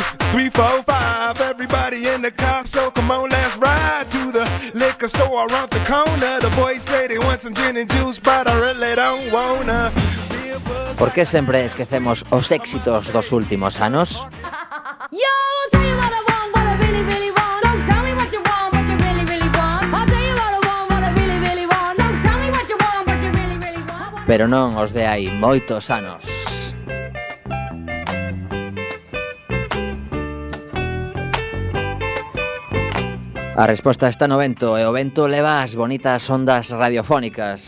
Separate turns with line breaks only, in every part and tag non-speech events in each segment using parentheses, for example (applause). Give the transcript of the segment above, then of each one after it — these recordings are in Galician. four, five. Everybody in the car, so come on, let's ride to the liquor store around the corner. The boys say they want some gin and juice, but I really don't wanna.
Por que sempre esquecemos os éxitos dos últimos anos?
Yo, I'll tell you what I want, what I really, really want. So tell me what you want, what you really, really want. I'll tell you what I want, what I really, really want. So tell me what you want, what you really, really want.
Pero non os de hai moitos anos. A resposta está no vento e o vento leva as bonitas ondas radiofónicas.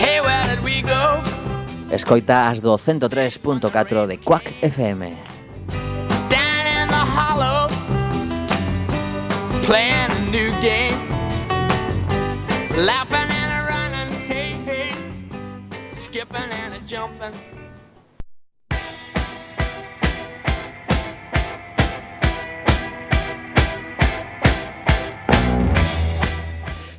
Hey, where did we go?
Escoita as do 103.4 de Quack FM.
Down in the hollow, playing a new game, laughing and a running, hey, hey, skipping and a jumping.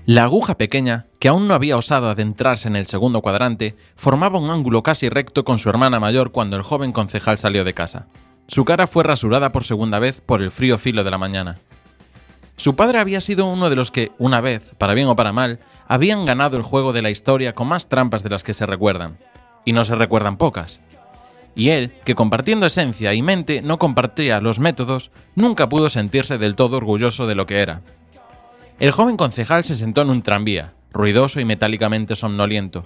La aguja pequeña, que aún no había osado adentrarse en el segundo cuadrante, formaba un ángulo casi recto con su hermana mayor cuando el joven concejal salió de casa. Su cara fue rasurada por segunda vez por el frío filo de la mañana. Su padre había sido uno de los que, una vez, para bien o para mal, habían ganado el juego de la historia con más trampas de las que se recuerdan. Y no se recuerdan pocas. Y él, que compartiendo esencia y mente no compartía los métodos, nunca pudo sentirse del todo orgulloso de lo que era. El joven concejal se sentó en un tranvía, ruidoso y metálicamente somnoliento.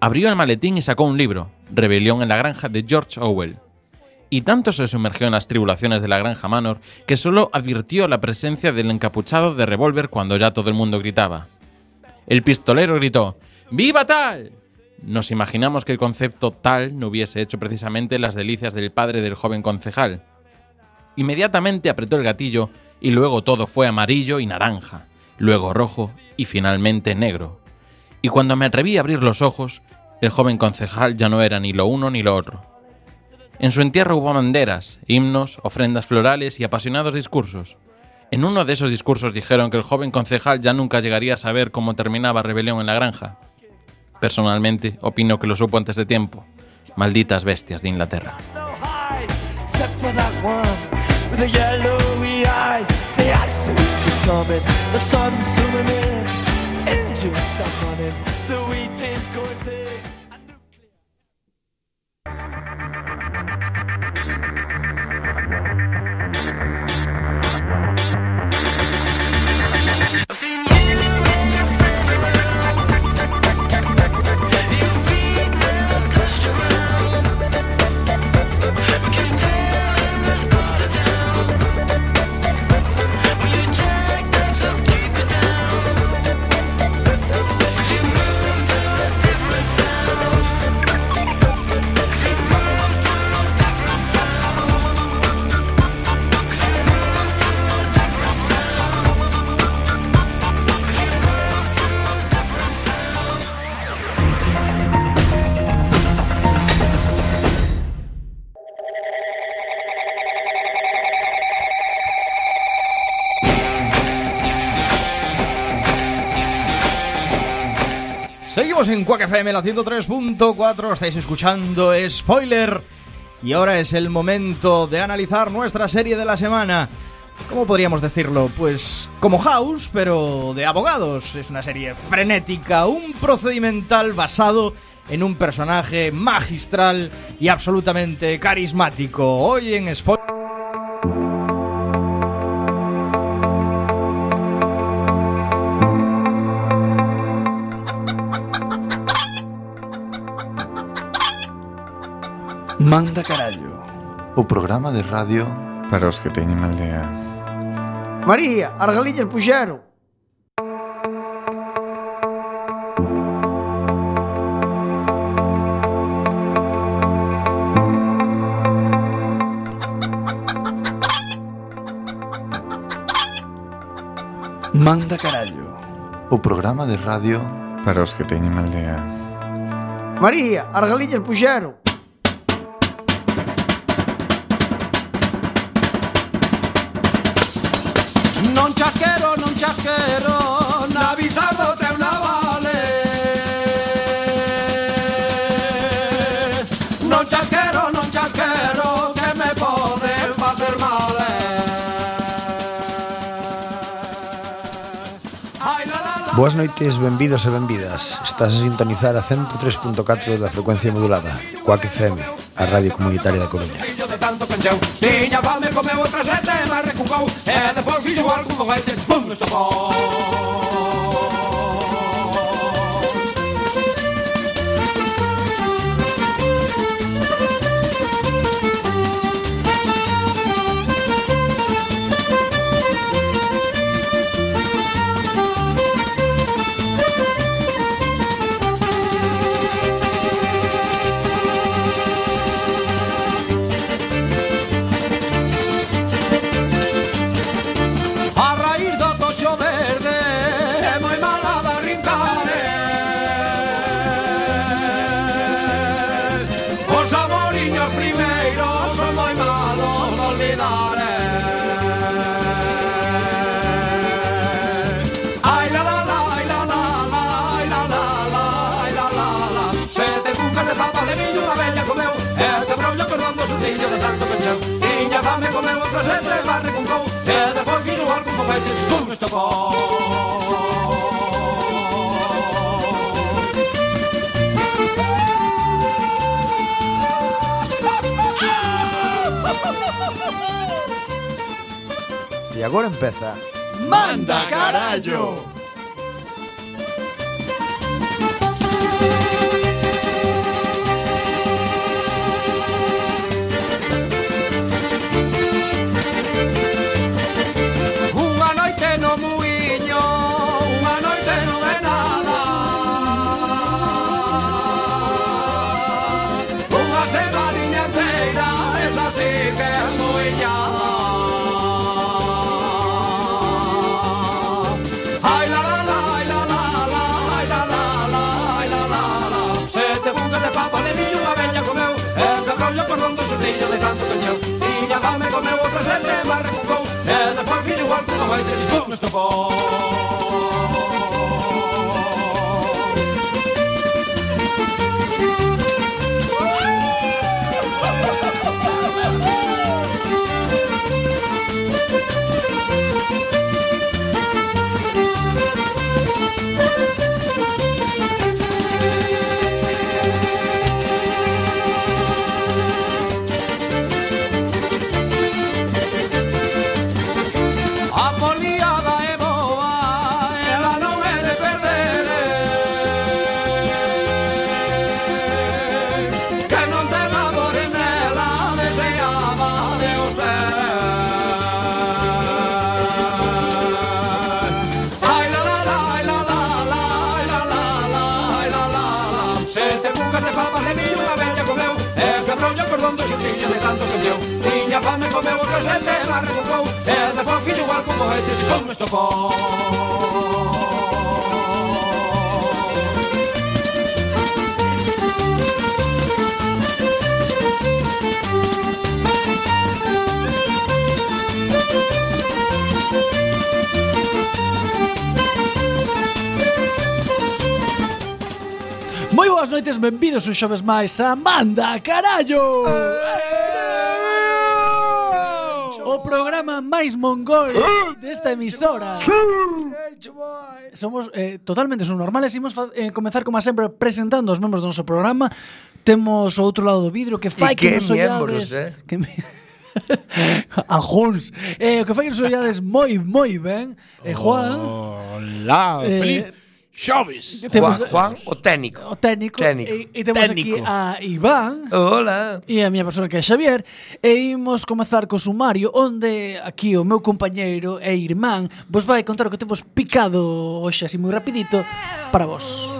Abrió el maletín y sacó un libro, Rebelión en la granja de George Orwell. Y tanto se sumergió en las tribulaciones de la granja Manor que solo advirtió la presencia del encapuchado de revólver cuando ya todo el mundo gritaba. El pistolero gritó ¡Viva tal! Nos imaginamos que el concepto tal no hubiese hecho precisamente las delicias del padre del joven concejal. Inmediatamente apretó el gatillo y luego todo fue amarillo y naranja luego rojo y finalmente negro. Y cuando me atreví a abrir los ojos, el joven concejal ya no era ni lo uno ni lo otro. En su entierro hubo banderas, himnos, ofrendas florales y apasionados discursos. En uno de esos discursos dijeron que el joven concejal ya nunca llegaría a saber cómo terminaba Rebelión en la Granja. Personalmente, opino que lo supo antes de tiempo. Malditas bestias de Inglaterra.
No hide, except for that one with the yellowy eyes. The ice is coming, the sun's zooming in, engines stuck on him, the wheat is going thick.
Seguimos en Quack FM, la 103.4. Estáis escuchando Spoiler. Y ahora es el momento de analizar nuestra serie de la semana. ¿Cómo podríamos decirlo? Pues como House, pero de abogados. Es una serie frenética, un procedimental basado en un personaje magistral y absolutamente carismático. Hoy en Spoiler.
Manda Carallo, o programa de radio
Para os que teñen mal día.
María, as galiñas puxeron.
Manda Carallo, o programa de radio
Para os que teñen mal día.
María, as galiñas puxeron.
Non chasquero, non chasquero, na bizardo te una vale. Non chasquero, non chasquero, que me poden facer mal.
Boas noites, benvidos e benvidas. Estás a sintonizar a 103.4 da frecuencia modulada, Coac FM, a radio comunitaria da Coruña.
fillo de tanto pencheu Tiña fame, comeu outra sete e máis recucou E depois fixo algo con este Pum, estopou A raíz do toxo verde É moi mala da rincare Os amoriños primeiros Son moi malos de olvidar eh. Ai la la la, ai la la la Ai la la la, ai la la la Sete cucas de papa de millo Unha bella comeu E te brollo cordando sustillo de tanto pecheu Tiña fame comeu outra sete e barre con cou E depois fixo algo con feites Con
E agora empeza
Manda carallo! Unha noite no muiño, unha noite non é nada Unha semaninha inteira, esa sí que é muiñada Ai la la la, ai la la la, ai la la la, ai la la la Sete bucas de papa de millo unha bella comeu E de rollo cordón do xurrillo de tanto cancheu Tiña fame comeu outra sete e barra cucou E despois fixo igual que unha baita chispou no estofón A foliada é boa, ela non é de perder eh. Que non te labores nela, deseaba de usted Ai la la la, ai la la la, ai la la la, ai la la la Sete cucas de papas de millo unha bella comeu E quebrou o cordón do xustillo de tanto que encheu Tiña fame comeu o casete e barra cucou E depois fixo igual como este xipón me estofou
Moi boas noites, benvidos un xoves máis a Manda Carallo O programa máis mongol desta emisora Somos eh, totalmente subnormales Imos fa- eh, comenzar, como a sempre, presentando os membros do noso programa Temos o outro lado do vidro que fai
E que
que nos
miembros,
ollades
eh?
que me... (laughs) a Jones eh, O que fai que nos ollades moi, moi ben eh, Juan
Hola,
Eh,
feliz xoves.
temos-
Juan, o técnico.
O técnico.
Técnico.
E, e temos
Técnico.
aquí a Iván.
Hola.
E a miña persona que é Xavier. E imos comezar co sumario onde aquí o meu compañeiro e irmán vos vai contar o que temos picado hoxe así moi rapidito para vos.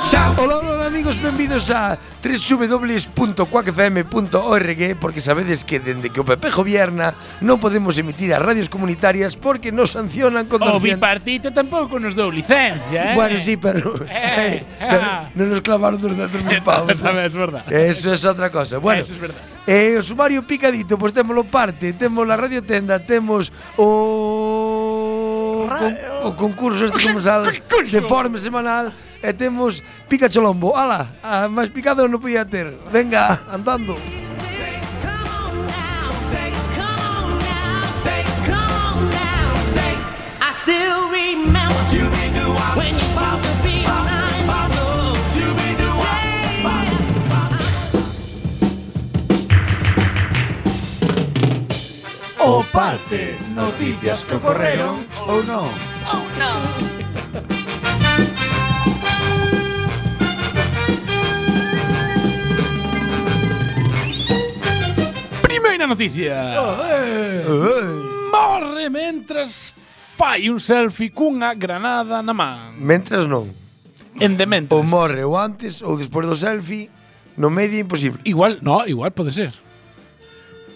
Xa, Hola, hola amigos, benvidos a www.cuacfm.org Porque sabedes que dende que o PP gobierna Non podemos emitir a radios comunitarias Porque nos sancionan con
O
200
bipartito tampouco nos dou licencia, eh?
Bueno, sí, pero,
Eh,
(laughs) pero
ah.
non nos clavaron
(laughs)
200.000 pavos.
Tamén es verdad.
Eso es outra cosa. Bueno,
Eso es verdad.
eh, o sumario picadito, pois pues, témolo parte, temos la radiotenda, temos o con, o concurso este como
(laughs)
sal de forma semanal e temos pica cholombo. Ala, a máis picado non podía ter. Venga, andando.
Say
parte noticias que ocorreron ou non.
Oh, no.
Primeira noticia. Morre mentras fai un selfie cunha granada na man.
Mentras non.
En dementas.
Ou morre ou antes ou despois do selfie, no medio é imposible.
Igual, no, igual pode ser.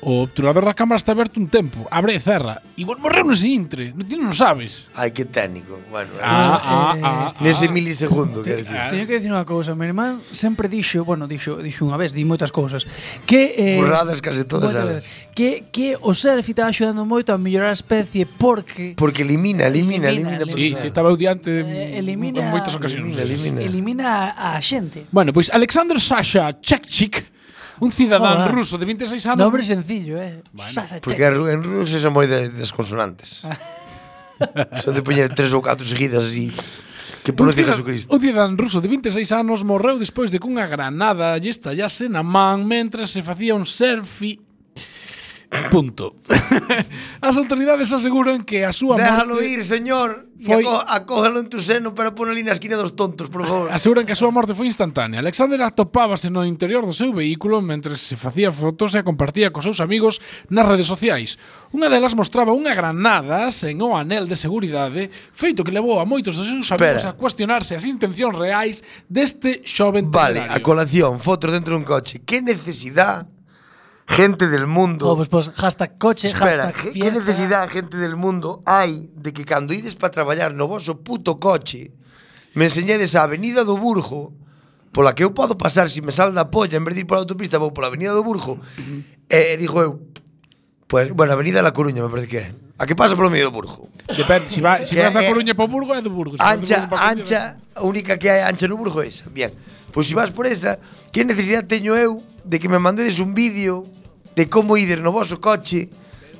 O obturador da cámara está aberto un tempo, abre e cerra. Igual morreu no seguinte, non ti non sabes.
Ai, que técnico. Bueno,
Ah, ah, ah, ah.
nese milisegundo,
Te-
quero dicir.
eh, Teño que dicir unha cousa, mi irmán sempre dixo, bueno, dixo, dixo unha vez, di moitas cousas, que eh,
Burradas case todas
moitas
elas.
veces, Que que o selfie está axudando moito a mellorar a especie porque
Porque elimina, elimina,
Elimina, Eh,
elimina.
Sí, sí, estaba eu diante
elimina-
en moitas ocasións.
Elimina, elimina.
elimina a, a xente.
Bueno, pois Alexander Sasha Chekchik, un cidadán
Joder.
ruso de 26 anos.
Nombre sencillo, eh. Sasa
Porque
Check.
en ruso son moi de- das consonantes. (laughs) Son de poñer tres ou catro seguidas así. Que
Un
pronuncia
cida-
Jesucristo.
Un cidadán ruso de 26 anos morreu despois de que unha granada lle estallase na man mentre se facía un selfie. Punto. (laughs) As autoridades aseguran que a súa
Déjalo
morte...
ir, señor. E
foi-
aco- acógelo en tu seno, pero ponelo na esquina dos tontos, por favor.
Aseguran que a súa morte foi instantánea. Alexander atopábase no interior do seu vehículo mentre se facía fotos e a compartía cos seus amigos nas redes sociais. Unha delas mostraba unha granada sen o anel de seguridade, feito que levou a moitos dos seus amigos
Espera.
a cuestionarse as intencións reais deste xoven
Vale,
temerario.
a colación, fotos dentro dun coche. Que necesidad gente del mundo.
Oh, pues, pues, hashtag coche,
Espera,
hashtag
que que
fiesta.
necesidade gente del mundo hai de que cando ides para traballar no voso puto coche me enseñedes a Avenida do Burgo pola que eu podo pasar se me salda a polla en vez de ir pola autopista vou pola Avenida do Burgo e digo eu pues, bueno, Avenida da Coruña me parece que é a que pasa polo medio do Burgo
Depende, si va, si
Que
vas da
é-
Coruña para Burgo é do Burgo. Si vas de Burgo
ancha,
pa Coruña,
ancha, a única que hai ancha no Burgo é esa. Bien. Pois se vas por esa, que necesidade teño eu de que me mandedes un vídeo de como ides no voso coche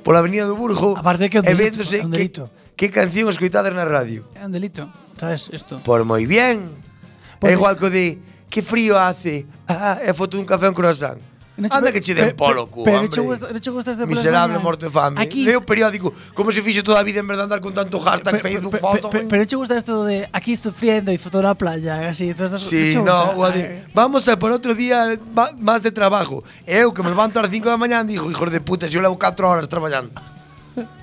pola avenida do Burgo
Aparte que é un
e
delito,
véndose
é un
que,
delito.
que canción escoitades na radio.
É un delito, sabes, isto.
Por moi bien. É igual que o de que frío hace. (laughs) Ah, é a foto dun café en croissant. Anda que che den
Pero-
polo, cu,
pero
hombre.
che gusta- non che gustas de polas
Miserable,
mañás.
morto de fame.
Aquí-
Leo o periódico, como se fixe toda a vida en verdade andar con tanto hashtag, Facebook, foto.
Pero, pero che gusta esto de aquí sufriendo y foto la playa, eh, así, todas estas
Sí, no, o a de, vamos a por outro día ma- máis de trabajo. E Eu que me levanto ás 5 da mañá digo, hijos de puta, se eu levo 4 horas traballando. (laughs)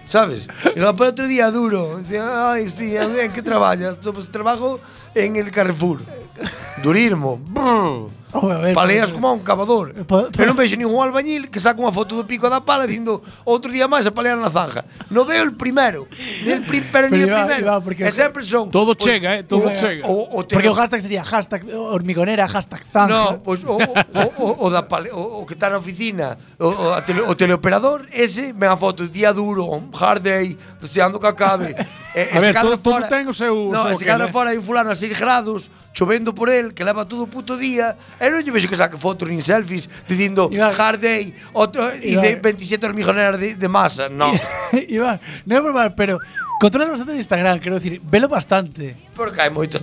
Sabes? Digo, por outro día duro. Dice, Ay, sí, a ver, en que traballas? "Yo, Pues, trabajo en el Carrefour. Durismo.
(laughs)
Brr. Paleas como a un cavador.
Eh, pues,
Eu non vexo ningún albañil que saca unha foto do pico da pala dicindo outro día máis a palear na zanja. Non veo el primero. Del pri, pero, ni
Pero
el
Iván,
primero.
Iván, porque-
e sempre son...
Todo
pois,
chega, eh, todo
o-
chega.
O, o te-
Porque o hashtag sería hashtag hormigonera, hashtag zanja.
No, pois o, o, o, o, da pale, o, o que está na oficina, o, o, a tele, o teleoperador, ese, me a foto, día duro, hard day, deseando que acabe. E,
A ver, todo- todo ten o seu- o
No,
seu
ese cadra
aquel, eh.
fora hai un fulano a 6 grados, chovendo por el, que leva todo o puto día, e non lle vexo que saque fotos nin selfies, dicindo hard day, outro, e de 27 hormigoneras de, de
(laughs)
masa. No,
Iván, no é por mal, pero controlas bastante de Instagram, quero decir, velo bastante.
porque hai moita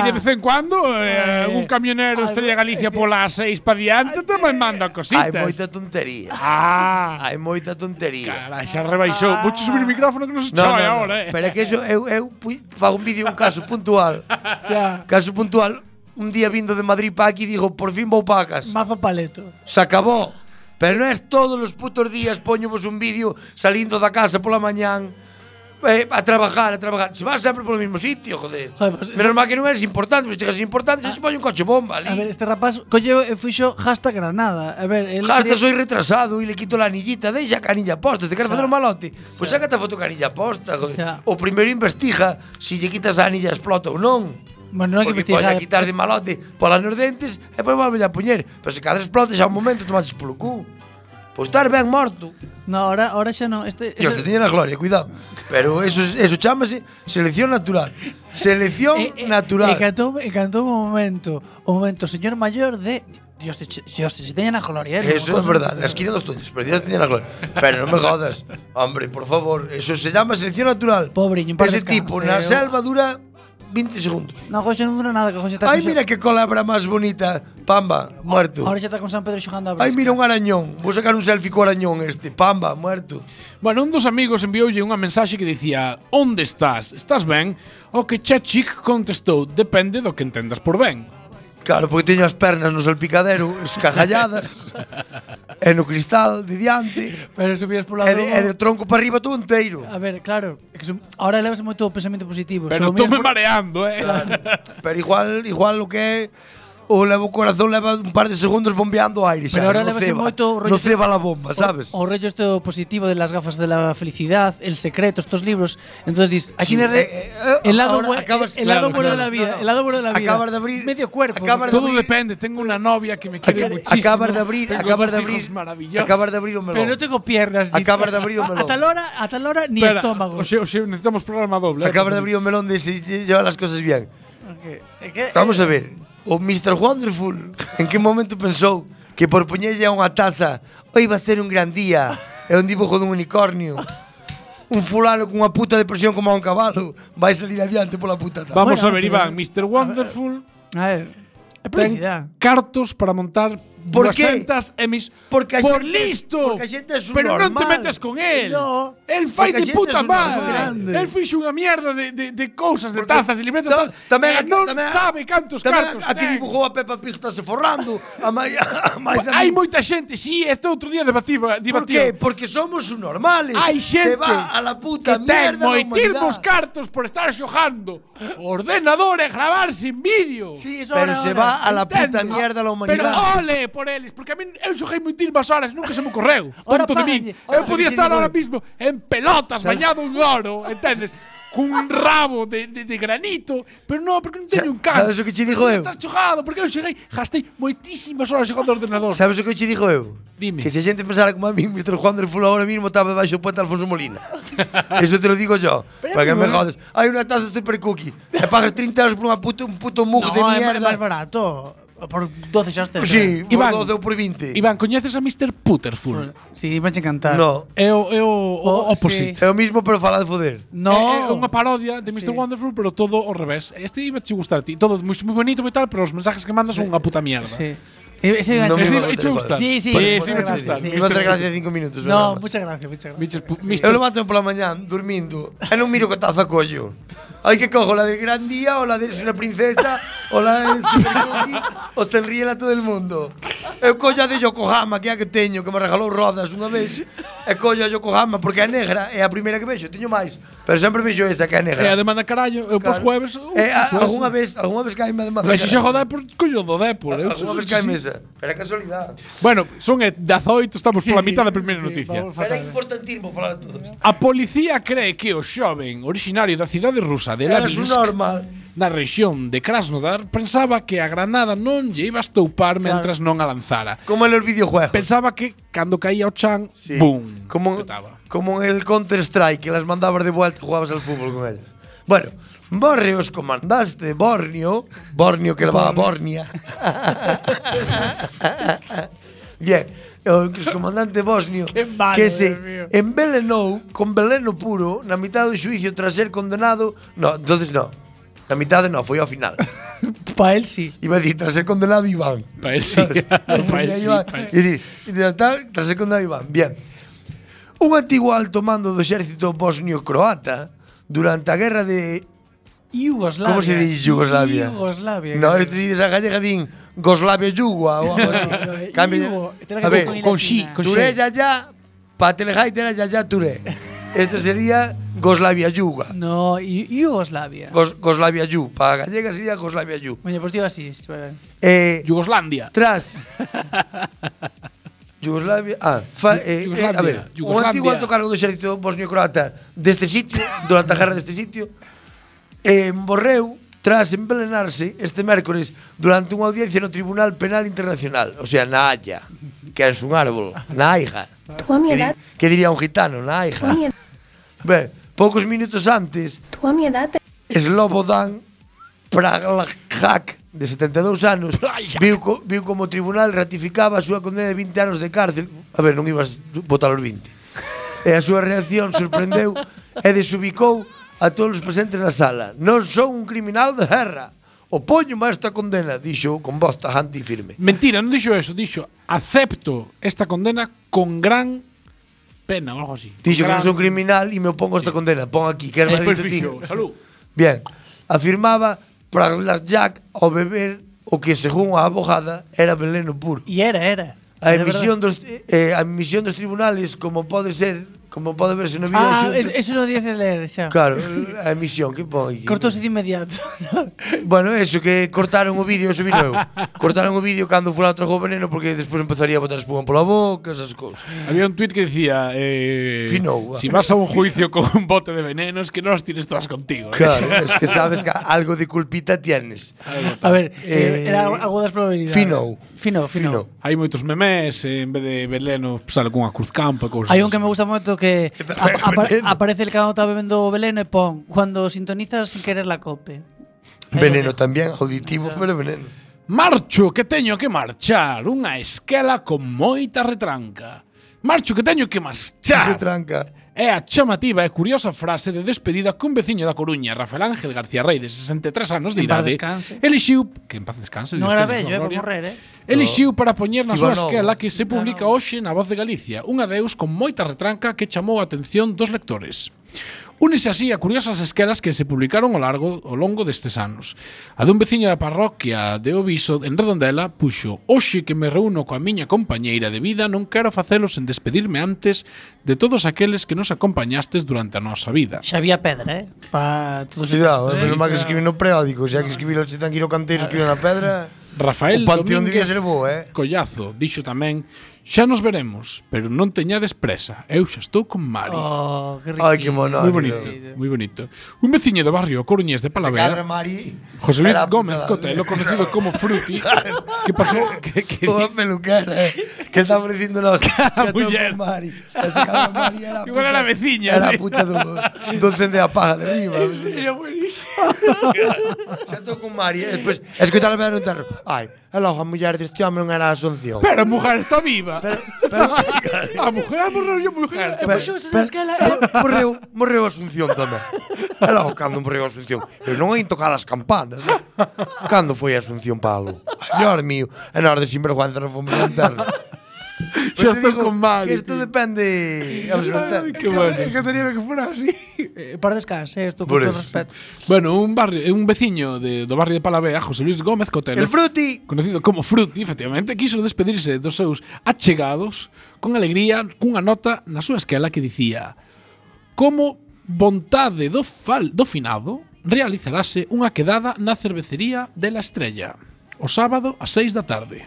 E de vez en cuando eh, un camionero estrella Galicia pola 6 pa diante tamén manda
Hai
cositas.
moita tontería.
Ah,
hai moita tontería.
Cara, xa rebaixou. Vou subir o micrófono que non se
No,
chama
no, no.
agora, eh.
Pero é que eso, eu, eu pu- fago un vídeo, un caso
(laughs)
puntual.
Xa.
Caso puntual, un día vindo de Madrid para aquí, digo, por fin vou para casa.
Mazo paleto.
Se acabó. Pero non é todos os putos días poñovos un vídeo salindo da casa pola mañán eh, a trabajar, a trabajar. Se vas sempre polo mismo sitio, joder.
Joder, pues, Ah.
Menos mal que non eres importante, se chegas importante, se te poñe un coche
A
bomba
ver,
ali.
este rapaz colleu e fuxo hashtag Granada. A ver, el
Hasta soy retrasado e le quito la anillita, deixa a canilla posta, te queres facer un malote. Pois sácate a foto canilla posta, joder.
Xa.
O primeiro investiga se lle quitas a anilla explota ou non.
Bueno, non hai que
Porque pode
investigar.
a quitar de malote polas nos dentes e pois volve a poñer. Pero se cadra explote xa un momento tomaches polo cu. Pois estar ben morto.
No, ahora, ahora xa non. Este,
Dios,
ese-
que teñen a gloria, cuidado. Pero eso, eso chamase selección natural. Selección
Eh, eh,
natural.
Encantou, encantou un momento, un momento, señor mayor de Dios te, Dios te, se teñen a gloria. eh,
eso
non
es
cosa-
verdad, na esquina dos tontos, pero Dios teñen a gloria. Pero non me jodas. Hombre, por favor, eso se llama selección natural.
Pobriño, en paz
Ese
descanse,
tipo na
eu-
selva dura 20 segundos.
¿eh? No, José non dura nada que José está
Ai,
con-
mira que colabra máis bonita, Pamba, muerto.
Ahora xa está con San Pedro xogando a
Ai,
brisca.
mira un arañón. Vou sacar un selfie co arañón este. Pamba, muerto.
Bueno, un dos amigos envioulle unha mensaxe que dicía Onde estás? Estás ben? O que Chachik contestou Depende do que entendas por ben
Claro, porque teño as pernas no salpicadero Escagalladas
(laughs)
E no cristal de diante
Pero subías por
E de, e de tronco para arriba todo inteiro
A ver, claro, é que son- ahora levas moito o pensamento positivo. Só o
Pero estou
mesmo-
me mareando, eh. (laughs) Pero igual, igual o que é O levo o corazón leva un par de segundos bombeando o aire xa,
Pero ahora
non
levas
ceba.
moito o rollo
Non ceba la bomba, sabes?
O, o rollo esto positivo de las gafas de la felicidad, el secreto, estos libros. Entonces dices, aquí tiene re-
eh,
el lado,
eh, ahora
bue-
acabas-
el lado
claro,
bueno
claro.
de la vida,
No, no.
el lado bueno de la vida.
Acabas
de abrir-
medio cuerpo.
Todo depende, tengo una novia que me quiere muchísimo
acabas de abrir-
Tengo
acabas
dos
de abrir-
hijos maravillosos.
acabas de abrir un melón.
Pero no tengo piernas. dice.
Acabas de
(laughs)
abrir un
A-
melón.
A tal hora, a tal hora ni
Espera,
estómago.
O sea, o sea, necesitamos programa doble. eh,
Acabas de
también.
abrir o melón de si lle- lleva las cosas bien
É que-
Vamos a ver O Mr. Wonderful En que momento pensou Que por poñerlle a unha taza Hoy va a ser un gran día É un dibujo dun unicornio Un fulano cunha puta depresión como a un cabalo Vai salir adiante pola puta taza
Vamos a ver, Iván, Mr. Wonderful.
A ver.
Ten cartos para montar
Por
dúas
que?
centas e mis
Porque a
por
xente-
listo.
porque a xente é
Pero non te
subnormal.
metas con él.
No,
el fai
porque a
de
xente
puta
é subnormal.
madre.
Grande.
El fixo unha mierda de, de, de cousas, de tazas, de libretas. tal. E
Tamén aquí-
non
tamén-
sabe cantos eh. cartos
tamén a que
ten.
dibujou a Peppa Pig está se forrando A mai- a máis a
Hai
min.
moita xente, si, sí, este outro día debativa,
Por
debativa.
que? Porque somos os normales
Hai xente
Se va a la puta
que ten
mierda da
moitirmos
humanidade
cartos por estar xojando o ordenador e gravar sin vídeo.
Sí,
eso Pero ahora, se ahora. va a la puta mierda la humanidade.
Pero ole por eles, porque a mí eu xojei moitirmas horas, nunca se me ocorreu.
Ahora
Tonto de min.
páganlle,
Eu
ahora
podía
que
estar
tiene
ahora
gol.
mismo en pelotas,
¿Sabes?
bañado en oro, entendes? cun rabo de, de, de granito, pero no, porque non teño un canto.
sabes o que che digo eu?
Estás xojado, porque eu xojei, gastei moitísimas horas xogando ao ordenador.
Sabes o que eu te digo eu?
Dime.
Que se a xente pensara como a mí, Mr. Juan del Fulo ahora mismo estaba debaixo do puente de
(laughs)
Alfonso Molina. Eso te lo digo yo.
Pero é
para que
moi
¿eh?
me
barato.
jodes. Hai unha taza super cookie. E pagas 30 euros por unha puto, un puto mug de
No, é
mierda.
máis barato. Por 12 xa estes.
Sí,
Iván.
por 12 ou por 20.
Iván, coñeces a Mr. Puterful?
Sí, vanche encantar.
No.
É o, é o, o opposite.
É o mismo, pero fala de foder.
No.
É, é unha Eh, parodia de Mr. Wonderful, pero todo ao revés. Este iba a gustar a ti. Todo moi, moi bonito e tal, pero os mensajes que mandas son unha puta mierda.
Sí. Ese
No me
ese-
E, iba a
ese-
gustar.
Sí, sí.
Pues,
muchas
sí, me iba a
gracias,
gustar.
sí.
Me iba a hacer gracia
cinco minutos,
No,
verdad.
muchas gracias, muchas gracias.
Eu levanto pola mañán, dormindo, e non miro que taza collo. Hai que cojo la del gran día, o la de ser una princesa, o la del super cookie, o sonríe a todo el mundo. Eu collo a de Yokohama, que é a que teño, que me regalou rodas unha vez. E collo a Yokohama, porque é negra, é a primeira que vexo, teño máis. Pero sempre vexo esa, que é negra.
E a demanda carallo, eu pos
Claro.
jueves... uh,
Eh, a- algunha vez, algunha vez caíme a demanda
Pero se
carallo.
xogo Depor, coño do Depor. eu
Algunha
sou-
vez
sí,
caíme
sí.
esa. Pero é casualidade.
Bueno, son e 18, estamos Sí, pola sí, mitad da primeira sí, noticia. vamos
Era importantísimo falar de todo isto.
A policía cree que o xoven originario da cidade rusa de
Eras un
Lavinsk
normal.
na rexión de Krasnodar pensaba que a granada non lle iba a estoupar
Claro.
mentras non a lanzara.
Como en los videojuegos.
Pensaba que cando caía o chan,
Sí.
boom.
Como, como en el Counter-Strike, que las mandabas de vuelta y jugabas al fútbol con ellas. Bueno, Borreos comandaste Borneo. Borneo que va a Bornia. Bien. O excomandante bosnio
Qué malo,
que se
Dios mío.
envelenou con veleno puro na mitad do xuicio tras ser condenado. No, entonces no. Na mitad no, foi ao final.
Pa él sí.
Iba a decir, tras ser condenado Iván.
Pa
(laughs)
él sí. (laughs) pa él sí,
Iván.
pa él
Y decir, y de tal, tras ser condenado Iván. Bien. Un antigo alto mando do exército bosnio-croata durante a guerra de...
Yugoslavia.
Como se dice Yugoslavia?
Yugoslavia.
No, esto sí, esa gallega din Goslavia-Yugua o algo así.
(laughs)
Cambia.
Yugo, tiene que
A
ver
ver,
con Con sí, latina. con sí.
Ture ya ya, pa Telehait era ya ya Ture. Esto sería Goslavia-Yuga.
No, y- Yugoslavia.
Gos- Goslavia-Yu, pa gallega sería Eh, Goslavia-Yu.
Bueno, pues digo así.
Yugoslandia.
Tras. (laughs) Yugoslavia. Ah, fa- eh, eh,
Yugoslandia,
a ver. O
Yugoslandia.
antigo alto cargo do exército bosnio-croata deste sitio, durante a guerra deste sitio, (laughs) eh, morreu tras envelenarse este mércores durante unha audiencia no Tribunal Penal Internacional, o sea, na Haya, que é un árbol, na Haiga.
a mi
Que, di-
edad-
que diría un gitano, na Haiga. Ben, poucos minutos antes,
Tú a mi edad te-
Slobodan Praglajak, de 72
(laughs)
anos, viu, co, viu como o tribunal ratificaba a súa condena de 20 anos de cárcel. A ver, non ibas botar os 20. E a súa reacción sorprendeu e desubicou a a todos os presentes na sala. Non son un criminal de guerra. Opoño a esta condena, dixo con voz tajante e firme.
Mentira, non dixo eso, dixo acepto esta condena con gran pena ou algo así.
Dixo que
Con gran-
non son criminal e me opongo a esta condena. Pon aquí,
E
que era
despois
dito ti.
fixo, salud.
Bien, afirmaba Praglas Jack ao beber o que, según a abogada, era veneno puro.
E era, era.
A
Era
emisión
verdade.
dos, eh, a emisión dos tribunales, como pode ser, como pode verse no vídeo...
Ah,
xunto-
es- eso non dices ler xa.
Claro, a emisión, que pon aquí?
Cortouse de inmediato.
(laughs) Bueno, eso, que cortaron o vídeo e subí novo. cortaron o vídeo cando fulano trajo o veneno porque despois empezaría a botar espuma pola boca, esas cousas.
Había un tuit que decía, eh,
Finou,
si
ah.
vas a un juicio con un bote de veneno es que no las tienes todas contigo. ¿eh?".
(laughs) Claro, es que sabes que algo de culpita tienes.
A ver,
Eh,
era algo das probabilidades.
Finou.
Finou, finou.
Hai moitos memes, eh, en vez de veleno sale cunha cruz campa, cousas.
Hai un que me gusta moito que apa-
(laughs)
apa- aparece el cano está bebendo o veleno e pon cuando sintonizas sin querer la cope.
Veneno tamén, auditivo, pero veneno.
Marcho que teño que marchar Unha escala con moita retranca Marcho que teño que marchar
retranca
É a chamativa e curiosa frase de despedida que un veciño da Coruña, Rafael Ángel García Rey, de 63 anos
En
de
paz
idade,
descanse.
elixiu... Que en paz descanse,
Non
Dios
era
teña
bello,
súa
eh, por
gloria.
morrer, eh.
Elixiu para poñer na
Tivo
súa
novo.
esquela que se publica hoxe na Voz de Galicia, un adeus con moita retranca que chamou a atención dos lectores. Únese así a curiosas esquelas que se publicaron ao largo ao longo destes anos. A dun veciño da parroquia de Oviso en Redondela puxo Oxe que me reúno coa miña compañeira de vida non quero facelo sen despedirme antes de todos aqueles que nos acompañastes durante a nosa vida.
Xa había pedra, eh. Pa
Pues
todos
Cuidado,
estes,
eh,
eh.
menos mal que escribí no periódico, xa que escribí o Chitán Quiro Canteiro, escribí na pedra.
Rafael
o panteón
Domínguez
debía ser bo, eh.
Collazo dixo tamén Xa nos veremos, pero non teñades presa. Eu xa estou con Mari.
Oh, que
Ai, que monólogo.
Moi bonito, moi bonito. Un veciño do barrio Coruñez de Palavera,
cadra, Mari.
José Luis
Era
Gómez
puta.
Cotelo, conocido
(laughs)
como Fruti, que pasó que, que
Toda peluquera, eh. Que está ofreciendo los
(laughs) muller.
Mari. Esa cabra Mari era
Ah, (laughs) Igual era veciña.
Era a
sí.
puta do, do cende a paja de riba.
Era buenísimo.
(laughs) Xa estou con Mari, e despois escoitar a pedra no terro. Ai, e logo a muller deste home non era a Asunción.
Pero a mujer está viva.
pero, (laughs)
a mujer morreu, a mujer.
Pero- pero- mo- morreu, morreu a Asunción tamén. E logo cando morreu a Asunción, eu non hai tocar as campanas. Eh? Cando foi a Asunción Palo? Dios mío, e na hora de sinvergüenza non fomos ao (laughs) enterro.
Xa
Pero Pois te
estou
digo
con Mari,
que Isto depende. Vamos a ver,
Qué bueno.
encantaría que fuera así. (laughs) Eh, para descanse, esto con
Por
todo
eso.
respeto.
Bueno, un barrio, un veciño de, do barrio de Palavea, José Luis Gómez Cotelo.
El Fruti.
Conocido como Fruti, efectivamente, quiso despedirse dos seus achegados con alegría cunha nota na súa esquela que dicía Como vontade do, fal, do finado realizarase unha quedada na cervecería de la Estrella o sábado a 6 da tarde.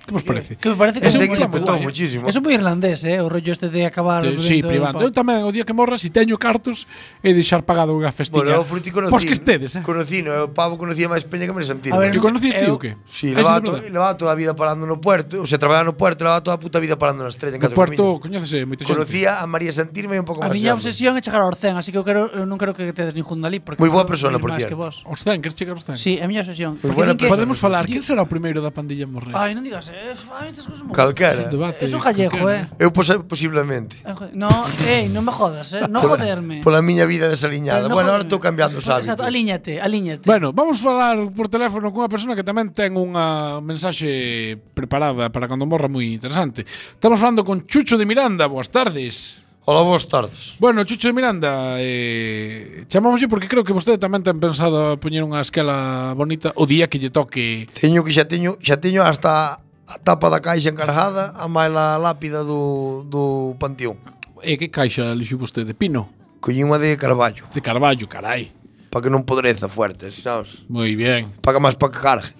Que vos parece?
Que me parece que é
Ese que
moi-
se petou
moi-
muchísimo.
Eso é moi irlandés, eh, o rollo este de acabar
Eh, sí, privando. Eu tamén o día que morra, se teño cartos, e deixar pagado unha
Bueno,
festiña.
eu Fruti conocí.
Pois que estedes, eh?
Conocino, eu pavo conocía máis peña que me sentí.
A ver, Que conociste eu- o qué?
Sí,
Ah,
levaba,
sí,
to,
de verdad.
levaba toda a vida parando no puerto, o sea, traballaba no puerto, levaba toda a puta vida parando na estrella en
No
Catro
Puerto,
Camiños.
coñécese moita xente.
Conocía a María Santirme e un pouco
A
máis.
miña
grande.
obsesión é chegar ao Orcén, así que eu quero eu non quero que tedes ningún dali porque
Moi boa
quero
persona,
ir
por
máis
cierto.
que vos.
Orcén, queres chegar ao Orcén?
Sí, é a miña obsesión.
Moi
Porque
buena
din que-
Podemos falar, quen será o primeiro da pandilla en morrer?
Ai, non digas, eh, a mí estas cousas me
Calquera.
gustan. Eso é gallego, eh.
Eu pos posiblemente.
Eh, jo- No, ei, non me jodas, eh. Non
Pola-
joderme.
Pola miña vida desaliñada.
Eh, no
bueno,
joder.
ahora estou cambiando os hábitos.
Exacto, alíñate, alíñate.
Bueno, vamos falar por teléfono cunha persona que tamén ten unha mensaxe preparada para cando morra moi interesante. Estamos falando con Chucho de Miranda, boas tardes.
Hola, boas tardes.
Bueno, Chucho de Miranda, eh, chamámoslle porque creo que vostede tamén ten pensado poñer unha escala bonita o día que lle toque.
Teño que xa teño, xa teño hasta a tapa da caixa encargada a máis la lápida do, do panteón.
E que caixa lixo vostede? Pino?
Collín unha de Carballo.
De Carballo, carai.
Para que non podreza fuerte, sabes?
Moi bien.
Para que máis para que cargue.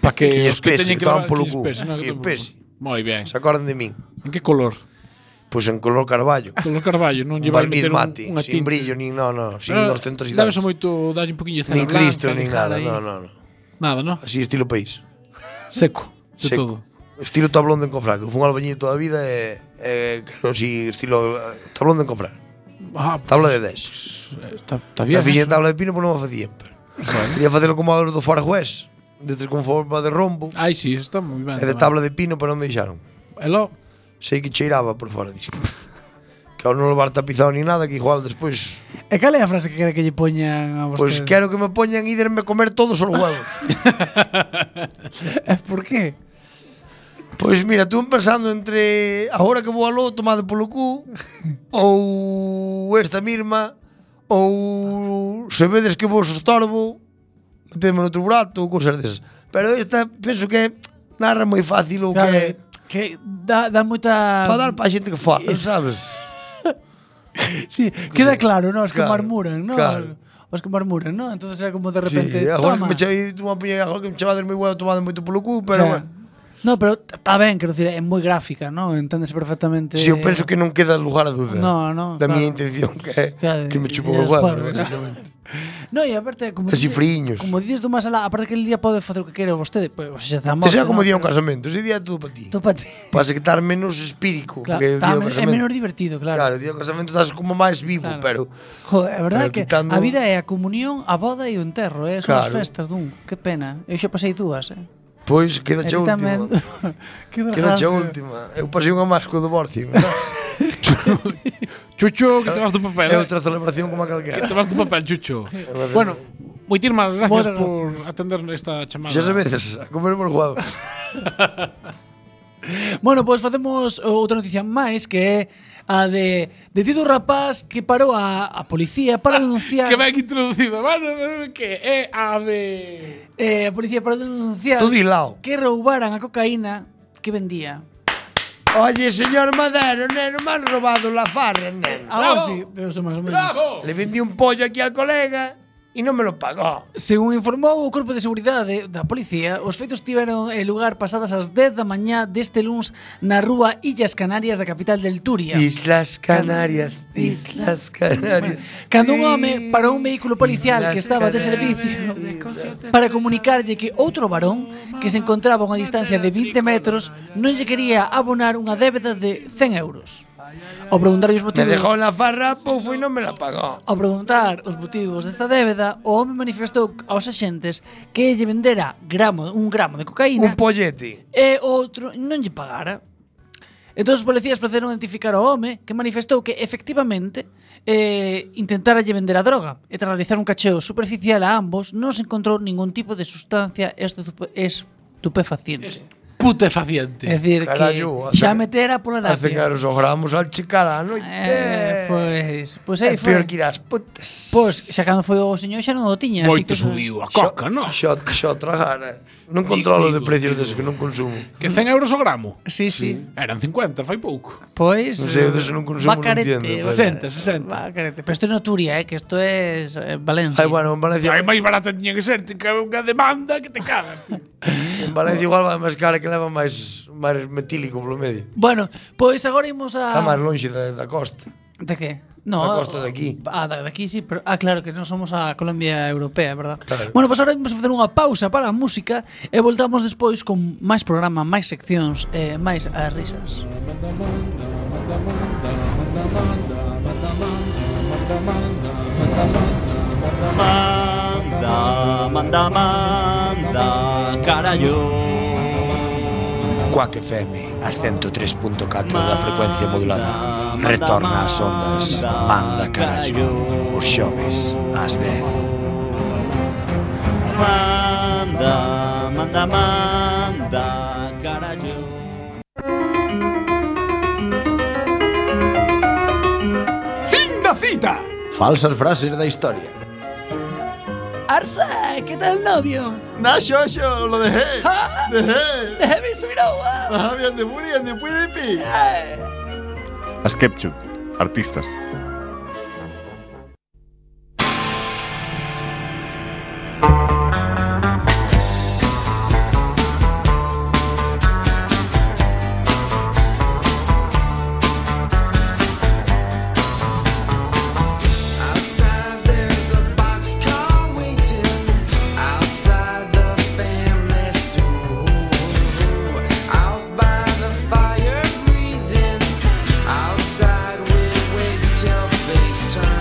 Para que,
que
os que
espese,
teñen
que,
que
que
levar-
toman polo
que
cu.
espese, non, que
Que
toman polo
espese.
Moi ben.
Se acordan de min.
En que color?
Pois en color carballo.
Color carballo, non lle
Un
vai
barniz
meter un,
mate,
unha
sin
tinta.
brillo, nin no, no, sin
Pero
ostentosidade.
Dábese moito, dalle un poquinho de cera
Nin
blanca.
Cristo, nin
lijada
nada,
aí.
no, no, no.
Nada, no?
Así estilo país.
Seco, de todo.
Estilo tablón de encofrar, que fun albañil toda a vida e, e claro, si estilo eh, tablón de encofrar.
Ah,
Tabla de 10.
Está, está bien. eh.
A fixen
eso.
tabla de pino, pois non a facían. Pero. Quería facelo como a dos do Farjués, de tres con forma de rombo.
Ai, si, sí, está moi ben.
E de tabla de pino, pero non me deixaron.
Hello.
Sei que cheiraba por fora, disco. que aún non levar tapizado ni nada, que igual despois...
E cal é a frase que quere que lle poñan a
Pois pues
vostede?
quero que me poñan íderme comer todos os huevos.
(laughs) Por qué?
Pois mira, estuve pensando entre agora que vou aló tomado polo cu ou esta mirma ou se vedes que vos estorbo meteme noutro burato ou cousas desas. Pero esta penso que narra moi fácil o
Claro, eh,
que
que dá, dá moita
para dar para a xente que fa,
Es-
sabes?
(laughs) Sí, queda claro, ¿no? Os que
Claro,
marmuran, ¿no?
claro.
Os que marmuran, ¿no? Entonces era como de
Sí,
repente.
agora que
toma.
me chavei, tú me apoyei, agora que me chavades moi huevo tomado moito polo cu,
O
pero
sea,
bueno.
No, pero está ben, quero dicir, é moi gráfica, ¿no? Entendes perfectamente.
Si eu penso que non queda lugar a dúda
No, no,
da
claro.
miña intención que é
Claro,
que me
e
chupou o
os
huevo,
juegos, ¿no?
basicamente.
No, e aparte como
Así
dices-
friños.
Como dices do máis alá, aparte que el día pode facer o que quere vostede, pois pues, xa está morto.
Ese é como
¿no?
día un casamento, ese día é todo para ti.
Tú pa ti.
Pasa que estar menos espírico,
Claro,
porque o
está
día do
men- é
casamento-
menos divertido, claro.
Claro, o día do casamento estás como máis vivo,
Claro.
pero
Joder, é verdade
Pero
que
quitando-
a vida é Eh, a comunión, a boda e o enterro, eh? son as
Claro.
festas dun. Que pena. Eu xa pasei dúas, eh?
pois queda
E ti
che última.
tamén. (laughs) que
Queda che
desgracia.
última. Eu pasei unha máis
(laughs)
co divorcio.
Chucho, que te vas do (laughs) papel. eh?
É
eh?
outra celebración como a calquera.
Que te vas do papel, (laughs) Chucho. bueno, moitirmas gracias
Moitas
por atender esta chamada.
Xa veces, a comer por guado.
Bueno, pois facemos outra noticia máis que é a de detido un rapaz que parou a, a policía para denunciar
Que ben introducido, mano, que é a de...
eh, a policía para denunciar
Todo hilao.
que roubaran a cocaína que vendía.
Oye, señor Madero, neno, me han robado la farra, neno.
Algo así, Ah, oh, pero eso más o menos.
Le vendí un pollo aquí al colega y no me lo pagó.
Según informou o Corpo de Seguridade da Policía, os feitos tiveron eh, lugar pasadas as 10 da mañá deste luns na rúa Illas Canarias da capital del Turia.
Islas Canarias, Islas Canarias.
Cando un home parou un vehículo policial que estaba de servicio para comunicarlle que outro varón que se encontraba a unha distancia de 20 metros non lle quería abonar unha débeda de 100 euros. Ao preguntarlle os
Me
motivos
dejó la farra, pues fui y no me la pagó.
Ao preguntar os motivos desta débeda, o home manifestou aos axentes que lle vendera gramo, un gramo de cocaína
Un pollete.
e outro non lle pagara. Entón os policías procederon a identificar ao home que manifestou que efectivamente eh, intentara lle vender a droga e tras realizar un cacheo superficial a ambos non se encontrou ningún tipo de sustancia estupe- estupefaciente.
Putefaciente.
É dicir,
Carallo,
que xa
hacen-
metera pola
Hacen
lapia.
caros os gramos al chicar a noite.
Eh, pois, pois aí
É
foi.
peor que ir ás putas.
Pois, xa cando foi o señor xa non o tiña, así que
Moito subiu a coca, non? Xo, xo tragara. Non controlo de precios deses que non consumo.
Que 100 euros o gramo?
Sí, sí.
Eran 50, fai pouco.
Pois,
Non sei, eu deso non consumo, non
Bacarete, o-
entiendo.
60, 60.
Va, carete. Pero isto é no Turia, eh, que isto é eh, Valencia.
Ai, bueno, en Valencia...
Ai, máis barata tiña que ser, que unha demanda que te cagas. tío.
En Valencia igual vai máis cara que leva máis máis metílico polo medio.
Bueno, pois agora imos a...
Está máis lonxe da, da costa.
De que? No,
Da costa de aquí.
Ah, da, de aquí sí, pero ah, claro que non somos a Colombia europea, é verdad.
Claro.
Bueno, pois agora vamos facer unha pausa para a música e voltamos despois con máis programa, máis seccións, eh, máis as risas.
Manda, manda, manda, carallo.
Cuac FM a 103.4 da frecuencia modulada Retorna as ondas Manda carallo Os xoves ás 10
Manda, manda, manda, carallo.
Fin da cita.
Falsas frases da historia
Arsa, ¿qué tal novio?
Na xoxo, lo dejé
Ah,
Dejé
Déjame subir agua.
Ajá, bien de muri, bien de puede pi
As Ketchup, artistas.
Outside there's a boxcar waiting outside the family's door. Out by the fire breathing. Outside we wait till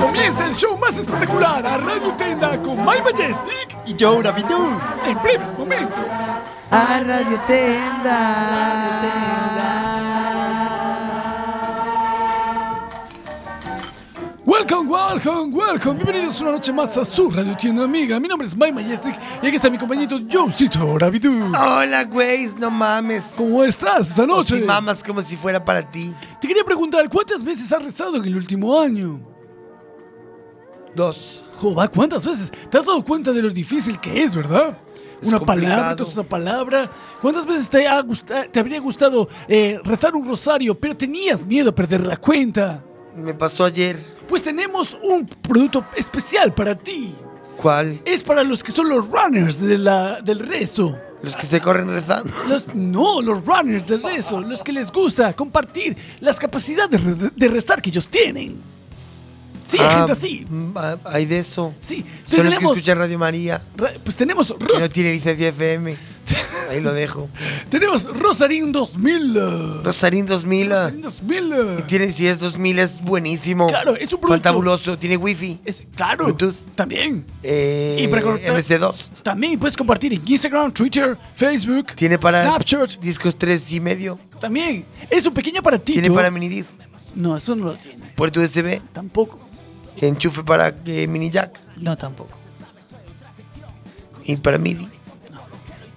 Comienza el show más espectacular a Radio Tenda con My Majestic y Joe Rabidu. En breves momentos. A Radio
Welcome, welcome, welcome. Bienvenidos una noche más a su radio tienda amiga. Mi nombre es My Majestic y aquí está mi compañero Joecito Rabidu.
Hola, güey, no mames.
¿Cómo estás esta noche?
O si mamas como si fuera para ti.
Te quería preguntar, ¿cuántas veces has rezado en el último año?
Dos.
Jova, ¿cuántas veces? ¿Te has dado cuenta de lo difícil que es, verdad?
Es
una
complicado.
palabra, entonces una palabra. ¿Cuántas veces te, ha gusta- te habría gustado eh, rezar un rosario, pero tenías miedo a perder la cuenta?
Me pasó ayer.
Pues tenemos un producto especial para ti.
¿Cuál?
Es para los que son los runners de la, del rezo.
Los que se corren rezando.
Los, no, los runners del rezo, los que les gusta compartir las capacidades de, re- de rezar que ellos tienen. Sí, hay
Ah,
gente así.
mm, ah, Hay de eso.
Sí,
Son los que
tenemos-
escuchan Radio María.
Pues tenemos.
Que no tiene
(laughs)
licencia FM. Ahí lo dejo.
Tenemos Rosarín 2000.
Rosarín 2000.
Rosarín 2000.
Y tiene, si es 2000, es buenísimo.
Claro, es un producto.
Fantabuloso. Tiene wifi.
Es, claro.
Bluetooth.
También.
Eh,
Y para conectar-
MC2.
También puedes compartir en Instagram, Twitter, Facebook.
Tiene para
Snapchat.
discos 3 y medio.
También. Es un pequeño aparatito.
Tiene para minidisc.
No, eso no lo tiene.
Puerto USB.
Tampoco.
Enchufe para eh, mini jack.
No, tampoco.
Y para MIDI.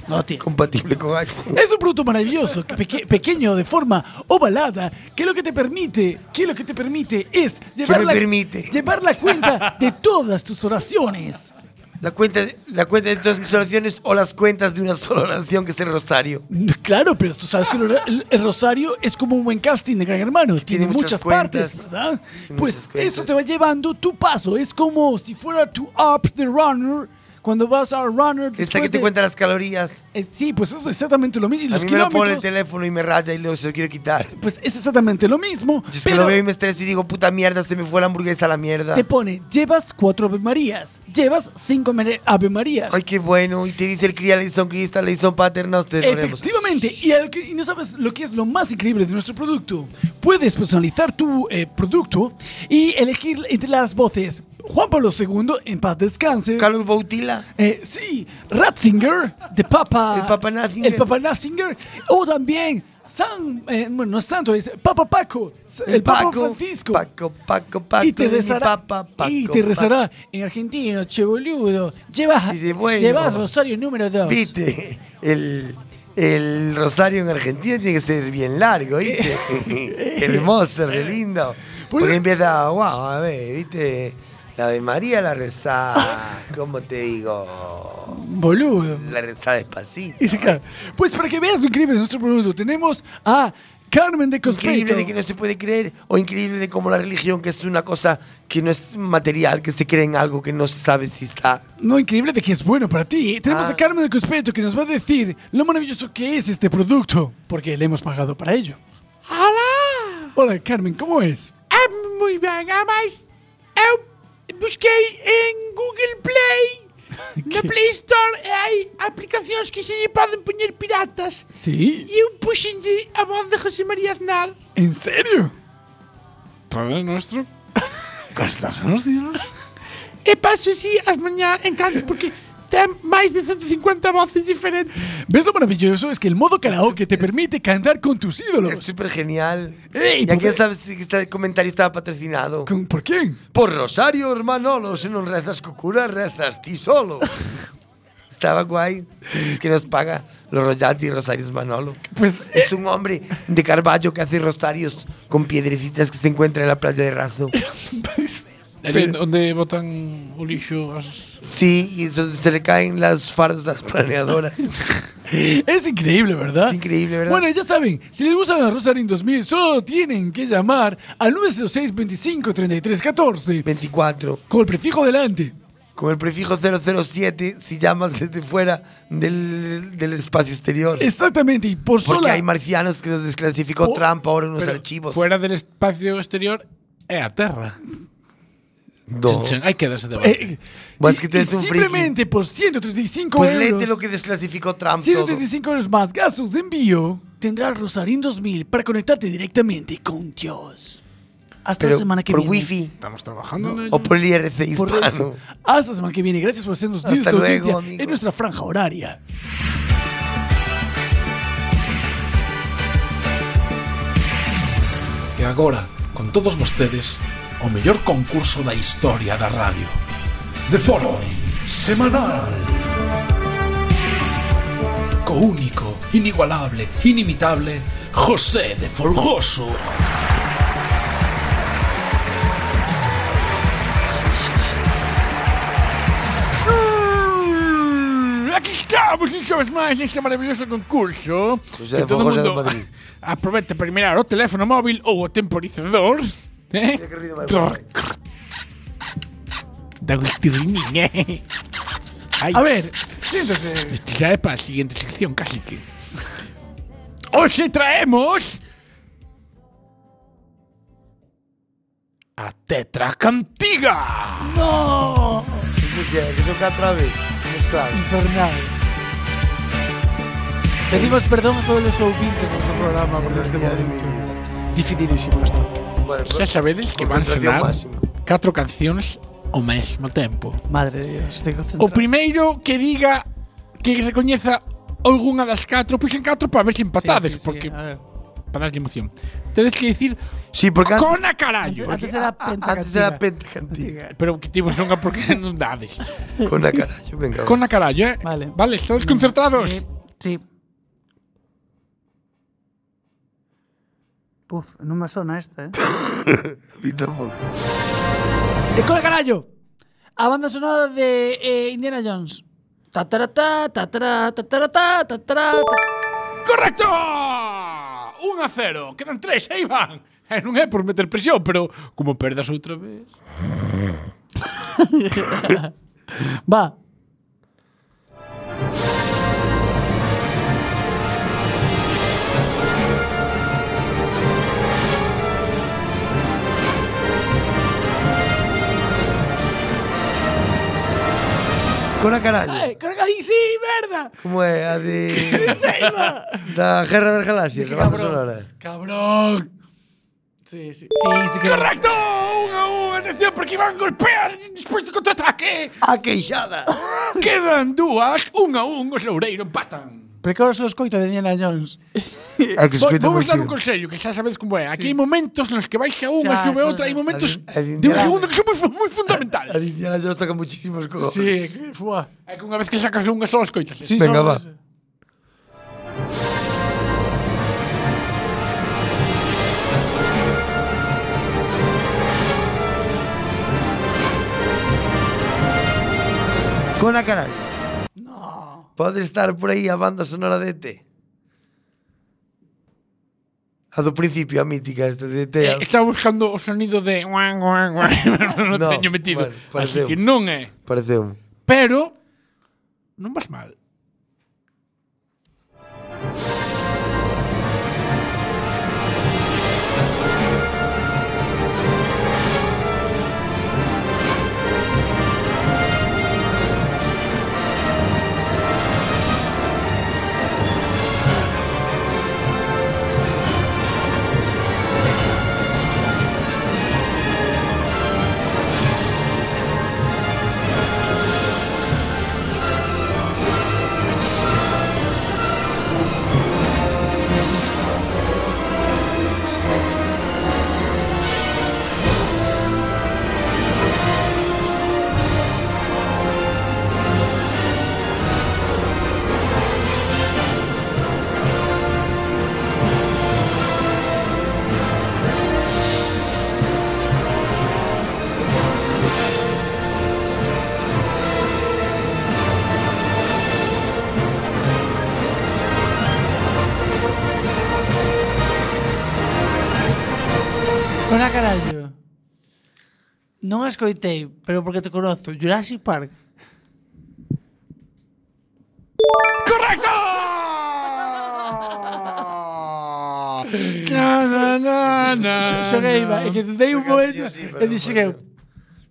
No tiene.
Compatible con iPhone.
Es un producto maravilloso, que peque- pequeño, de forma ovalada, que lo que te permite, que lo que te permite es llevar,
me
la,
permite?
llevar la cuenta de todas tus oraciones.
La cuenta, de- la cuenta de todas mis oraciones o las cuentas de una sola oración que es el rosario.
Claro, pero tú sabes que el ora- el, el rosario es como un buen casting de Gran Hermano, tiene, muchas,
muchas
partes,
cuentas.
¿verdad? Pues eso te va llevando tu paso, es como si fuera tu up the runner. Cuando vas a runner,
Esta
después
que te
de-
cuenta las calorías.
eh, sí, pues es exactamente lo mismo. Y
A
los
mí me lo pone el
kilómetros,
teléfono y me raya y luego se lo quiero quitar.
pues es exactamente lo mismo.
Yo es que
pero
lo veo y me estreso y digo, puta mierda, se me fue la hamburguesa a la mierda.
te pone, llevas cuatro Ave Marías, llevas cinco Mere- Ave Marías.
Ay, qué bueno. Y te dice el cría Leison Crista, Leison Paternoster. oremos.
Efectivamente, y, a lo que- y no sabes lo que es lo más increíble de nuestro producto. Puedes personalizar tu eh, producto y elegir entre las voces Juan Pablo II, en paz descanse. Eh,
Carlos Bautila.
sí, Ratzinger, de Papa.
El Papa Ratzinger.
El Papa Ratzinger. O también San, eh, bueno, no es santo, es Papa Paco, el, Papa Francisco.
Paco, Paco, Paco.
y te
de mi
rezará,
papa, Paco,
y te rezará
Paco.
en argentino, che boludo. Llevas,
Dice, bueno.
llevas Rosario número 2.
Viste, el, el rosario en Argentina tiene que ser bien largo, ¿viste?
(laughs)
Hermoso, re lindo. Porque empieza, wow, a ver, ¿viste? La de María la reza, ¿cómo te digo?
Boludo.
La reza despacito.
Y se cae. Pues para que veas lo increíble de nuestro producto, tenemos a Carmen de
Increíble
Cospeto.
de que no se puede creer, o increíble de cómo la religión, que es una cosa que no es material, que se cree en algo que no se sabe si está.
No, increíble de que es bueno para ti. Tenemos
Ah.
a Carmen de Cospeto que nos va a decir lo maravilloso que es este producto, porque le hemos pagado para ello.
Hola!
Hola, Carmen, ¿cómo es?
É moi ben, ademais, eu busquei em Google Play, na Play Store, e há aplicações que se lhe podem punhar piratas.
Sí.
E eu puxei a voz de José María Aznar.
¿En serio?
Padre nuestro. ¿Gastas en los cielos?
E assim paso así as mañá en canto, porque ten máis de 150 voces diferentes.
¿Ves lo maravilloso? Es que el modo karaoke te permite cantar con tus ídolos.
Es súper genial.
Ey,
¿Y a
pues,
quién sabes si este comentario estaba patrocinado?
¿Por quién?
Por Rosario, hermanolo. Si no rezas cucura, rezas ti
(laughs)
solo. estaba guay. Es que nos paga los royalties Rosarios Manolo.
Pues,
es un hombre de Carballo que hace rosarios con piedrecitas que se encuentra en la playa
(laughs)
de Razo.
Pues,
El in- donde botan o lixo as...
Sí, y eso- se le caen las fardas a las planeadoras.
(laughs) Es increíble, ¿verdad?
increíble, ¿verdad?
Bueno, ya saben, si les gustan las Rosarín 2000, solo tienen que llamar al 906 25 33 14
24
con el prefijo delante.
Con el prefijo 007, si llamas desde fuera del, del espacio exterior.
Exactamente, y por
Porque
sola-
hay marcianos que los desclasificó
Oh,
Trump ahora en unos
pero
archivos.
Fuera del espacio exterior é a Terra.
Do.
Chen, chen, hai que dese debate.
Eh,
Mas Pues que
y-
tú
y
eres un friki.
Simplemente por 135
Pues
euros.
léete lo que desclasificó Trump
135 euros más gastos de envío. Tendrás Rosarín 2000 para conectarte directamente con Dios. Hasta
Pero
la semana que
por
viene.
wifi.
Estamos trabajando en ello.
O por el IRC
Por
hispano.
eso. Hasta la semana que viene. Gracias por hacernos
Hasta
de tu
luego,
audiencia
amigo.
en nuestra franja horaria.
E agora, con todos vostedes, o mellor concurso da historia da radio. Deforme, semanal. Co único, inigualable, inimitable, José de Folgoso.
Mm, Aquí estamos, una vez más, en este maravilloso concurso.
José
Que
de Fogoso de
(laughs)
Madrid.
ah, aproveita para mirar o teléfono móvil ou o temporizador. Eh? Da un estirrinín, eh. Ay.
A ver,
Esto ya es para la siguiente sección, casi que. Os traemos a Tetra Cantiga.
¡No!
Que son catro aves. Claro.
Infernal. Pedimos perdón a todos los showbintes de nuestro programa por este momento. Dificilísimo esto.
Xa sabedes que van sonar catro cancións ao mesmo tempo.
Madre de Dios, estoy
O
concentrado.
primeiro que diga que recoñeza algunha das catro, pois en catro para ver se empatades,
Sí, sí, sí,
porque
a ver.
para darlle emoción. Tedes que dicir
Sí, porque an-
Cona carallo.
Antes era pentacantiga. Antes era pentacantiga.
Pero que tivos nunca porque non dades.
Cona carallo, venga. va.
Cona carallo, eh? Vale. Vale, estades concertados?
Sí, sí. Puf, no me suena esta, eh.
(laughs) A mí tampoco.
¡El Cole Carallo! A banda sonora de eh, Indiana Jones. Tatarata, tatarata, tatarata, tatarata.
¡Correcto! 1 a 0. Quedan 3, aí van. E non é por meter presión, pero como perdas outra vez.
(laughs) Va.
Cona carallo.
¡Ay, Cole Carallo! ¡Sí, verdad!
Como é a de...
(laughs)
Seiba.
da Guerra das Galaxias, a banda
cabrón.
sonora.
¡Cabrón! Sí, sí. Sí, sí que
¡Correcto! 1 a 1. Atención, porque Iván golpea despois do contraataque.
A queixada.
Quedan dúas. 1 a 1. Os Loureiro empatan.
Precoz o escoito de Indiana Jones.
Hay Ah, que
Vo-
escoitar
Vamos
moi
dar un
fino.
consello, que xa sabedes como é. Aquí hai momentos nos que baixa unha e
Xa,
sube
xa,
outra. Hai
xa.
momentos
A de
de un
Indiana-
segundo que son moi, fu- moi fundamentales.
A de Indiana Jones toca muchísimos cojones.
Sí, que- fua. É que unha vez que sacas unha só escoitas.
Sí, Venga, só- va. Cona carallo. No. Pode estar por aí a banda sonora de ET. A do principio, a mítica esta de ET.
Eh, está buscando o sonido de guan, guan, guan. (laughs) non
No,
teño metido.
bueno,
Así
pareceu.
que non é.
Parece un.
Pero non vas mal.
Cona Carallo. Non a escoitei, pero porque te conozo. Jurassic Park.
¡Correcto! na, na, na, na,
Xoguei, va. É que te dei un momento e dixen eu.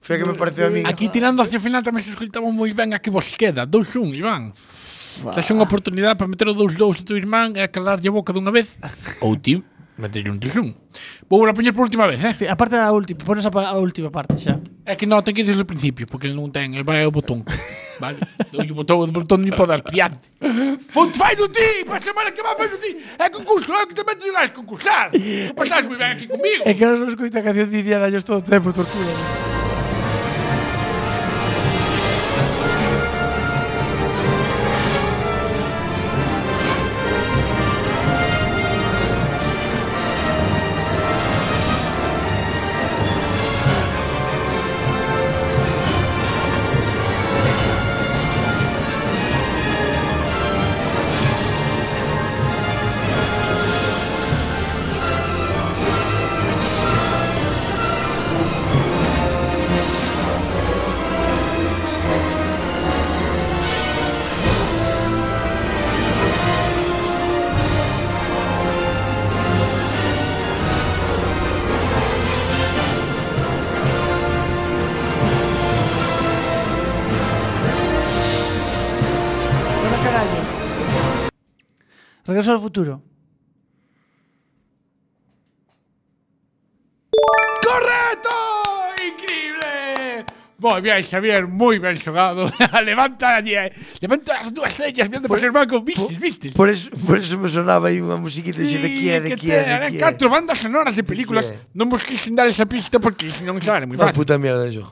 Foi a que me pareceu a mí.
Aquí tirando hacia o final tamén se escoitaba moi ben a que vos queda. 2-1, Iván. Tens unha oportunidade para meter o 2-2 a tu irmán e calarlle a boca dunha
(laughs)
vez. Ou ti, meterlle un 2-1. Vou a poñer por última vez, eh?
Sí, a parte da última, ponos a, pa- a última parte xa.
É que non, ten que ir desde o principio, porque el non ten, el vai ao
(laughs)
botón. Vale, doi o botón, o botón ni para dar piante. Ponte vai no ti, para a semana que vai vai no ti. É concurso, é que tamén te vais concursar. Non pasás moi ben aquí comigo.
É que ahora no escucho a canción de Indiana Jones todo o tempo, tortura. Bueno, carallo. Regreso al futuro.
¡Correcto! ¡Increíble! Muy bien, Xavier, muy bien jugado. (laughs) levanta, allí, eh. levanta las dos señas, viendo por el banco. Vistes, vistes.
Por eso, por eso me sonaba aí unha musiquita de de qui é, de
que
qui
te
é, de
harán
qui é.
cuatro bandas sonoras de películas.
quién?
No busques sin dar esa pista porque si no, claro, muy
Unha
fácil.
puta mierda de
(laughs)
xogo.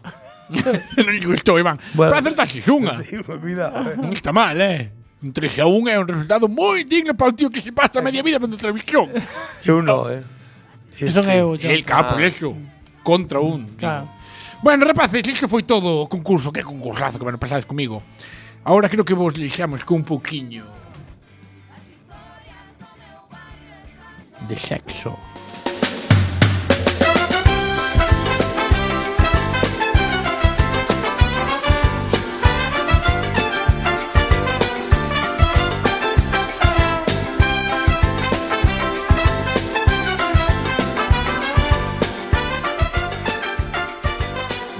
no le gustó, Iván.
Bueno.
para acertar si
(laughs)
unha.
Cuidado, eh.
Non está mal, eh. Un 13 a 1 es un resultado muy digno para un tío que se pasa media vida viendo televisión.
Eu non, eh.
Eso
Este-
El capo,
Ah.
eso. Contra un. Bueno, rapaces, isto foi todo o concurso. Que concursazo que me pasades comigo. Ahora creo que vos lixamos con un poquinho de sexo.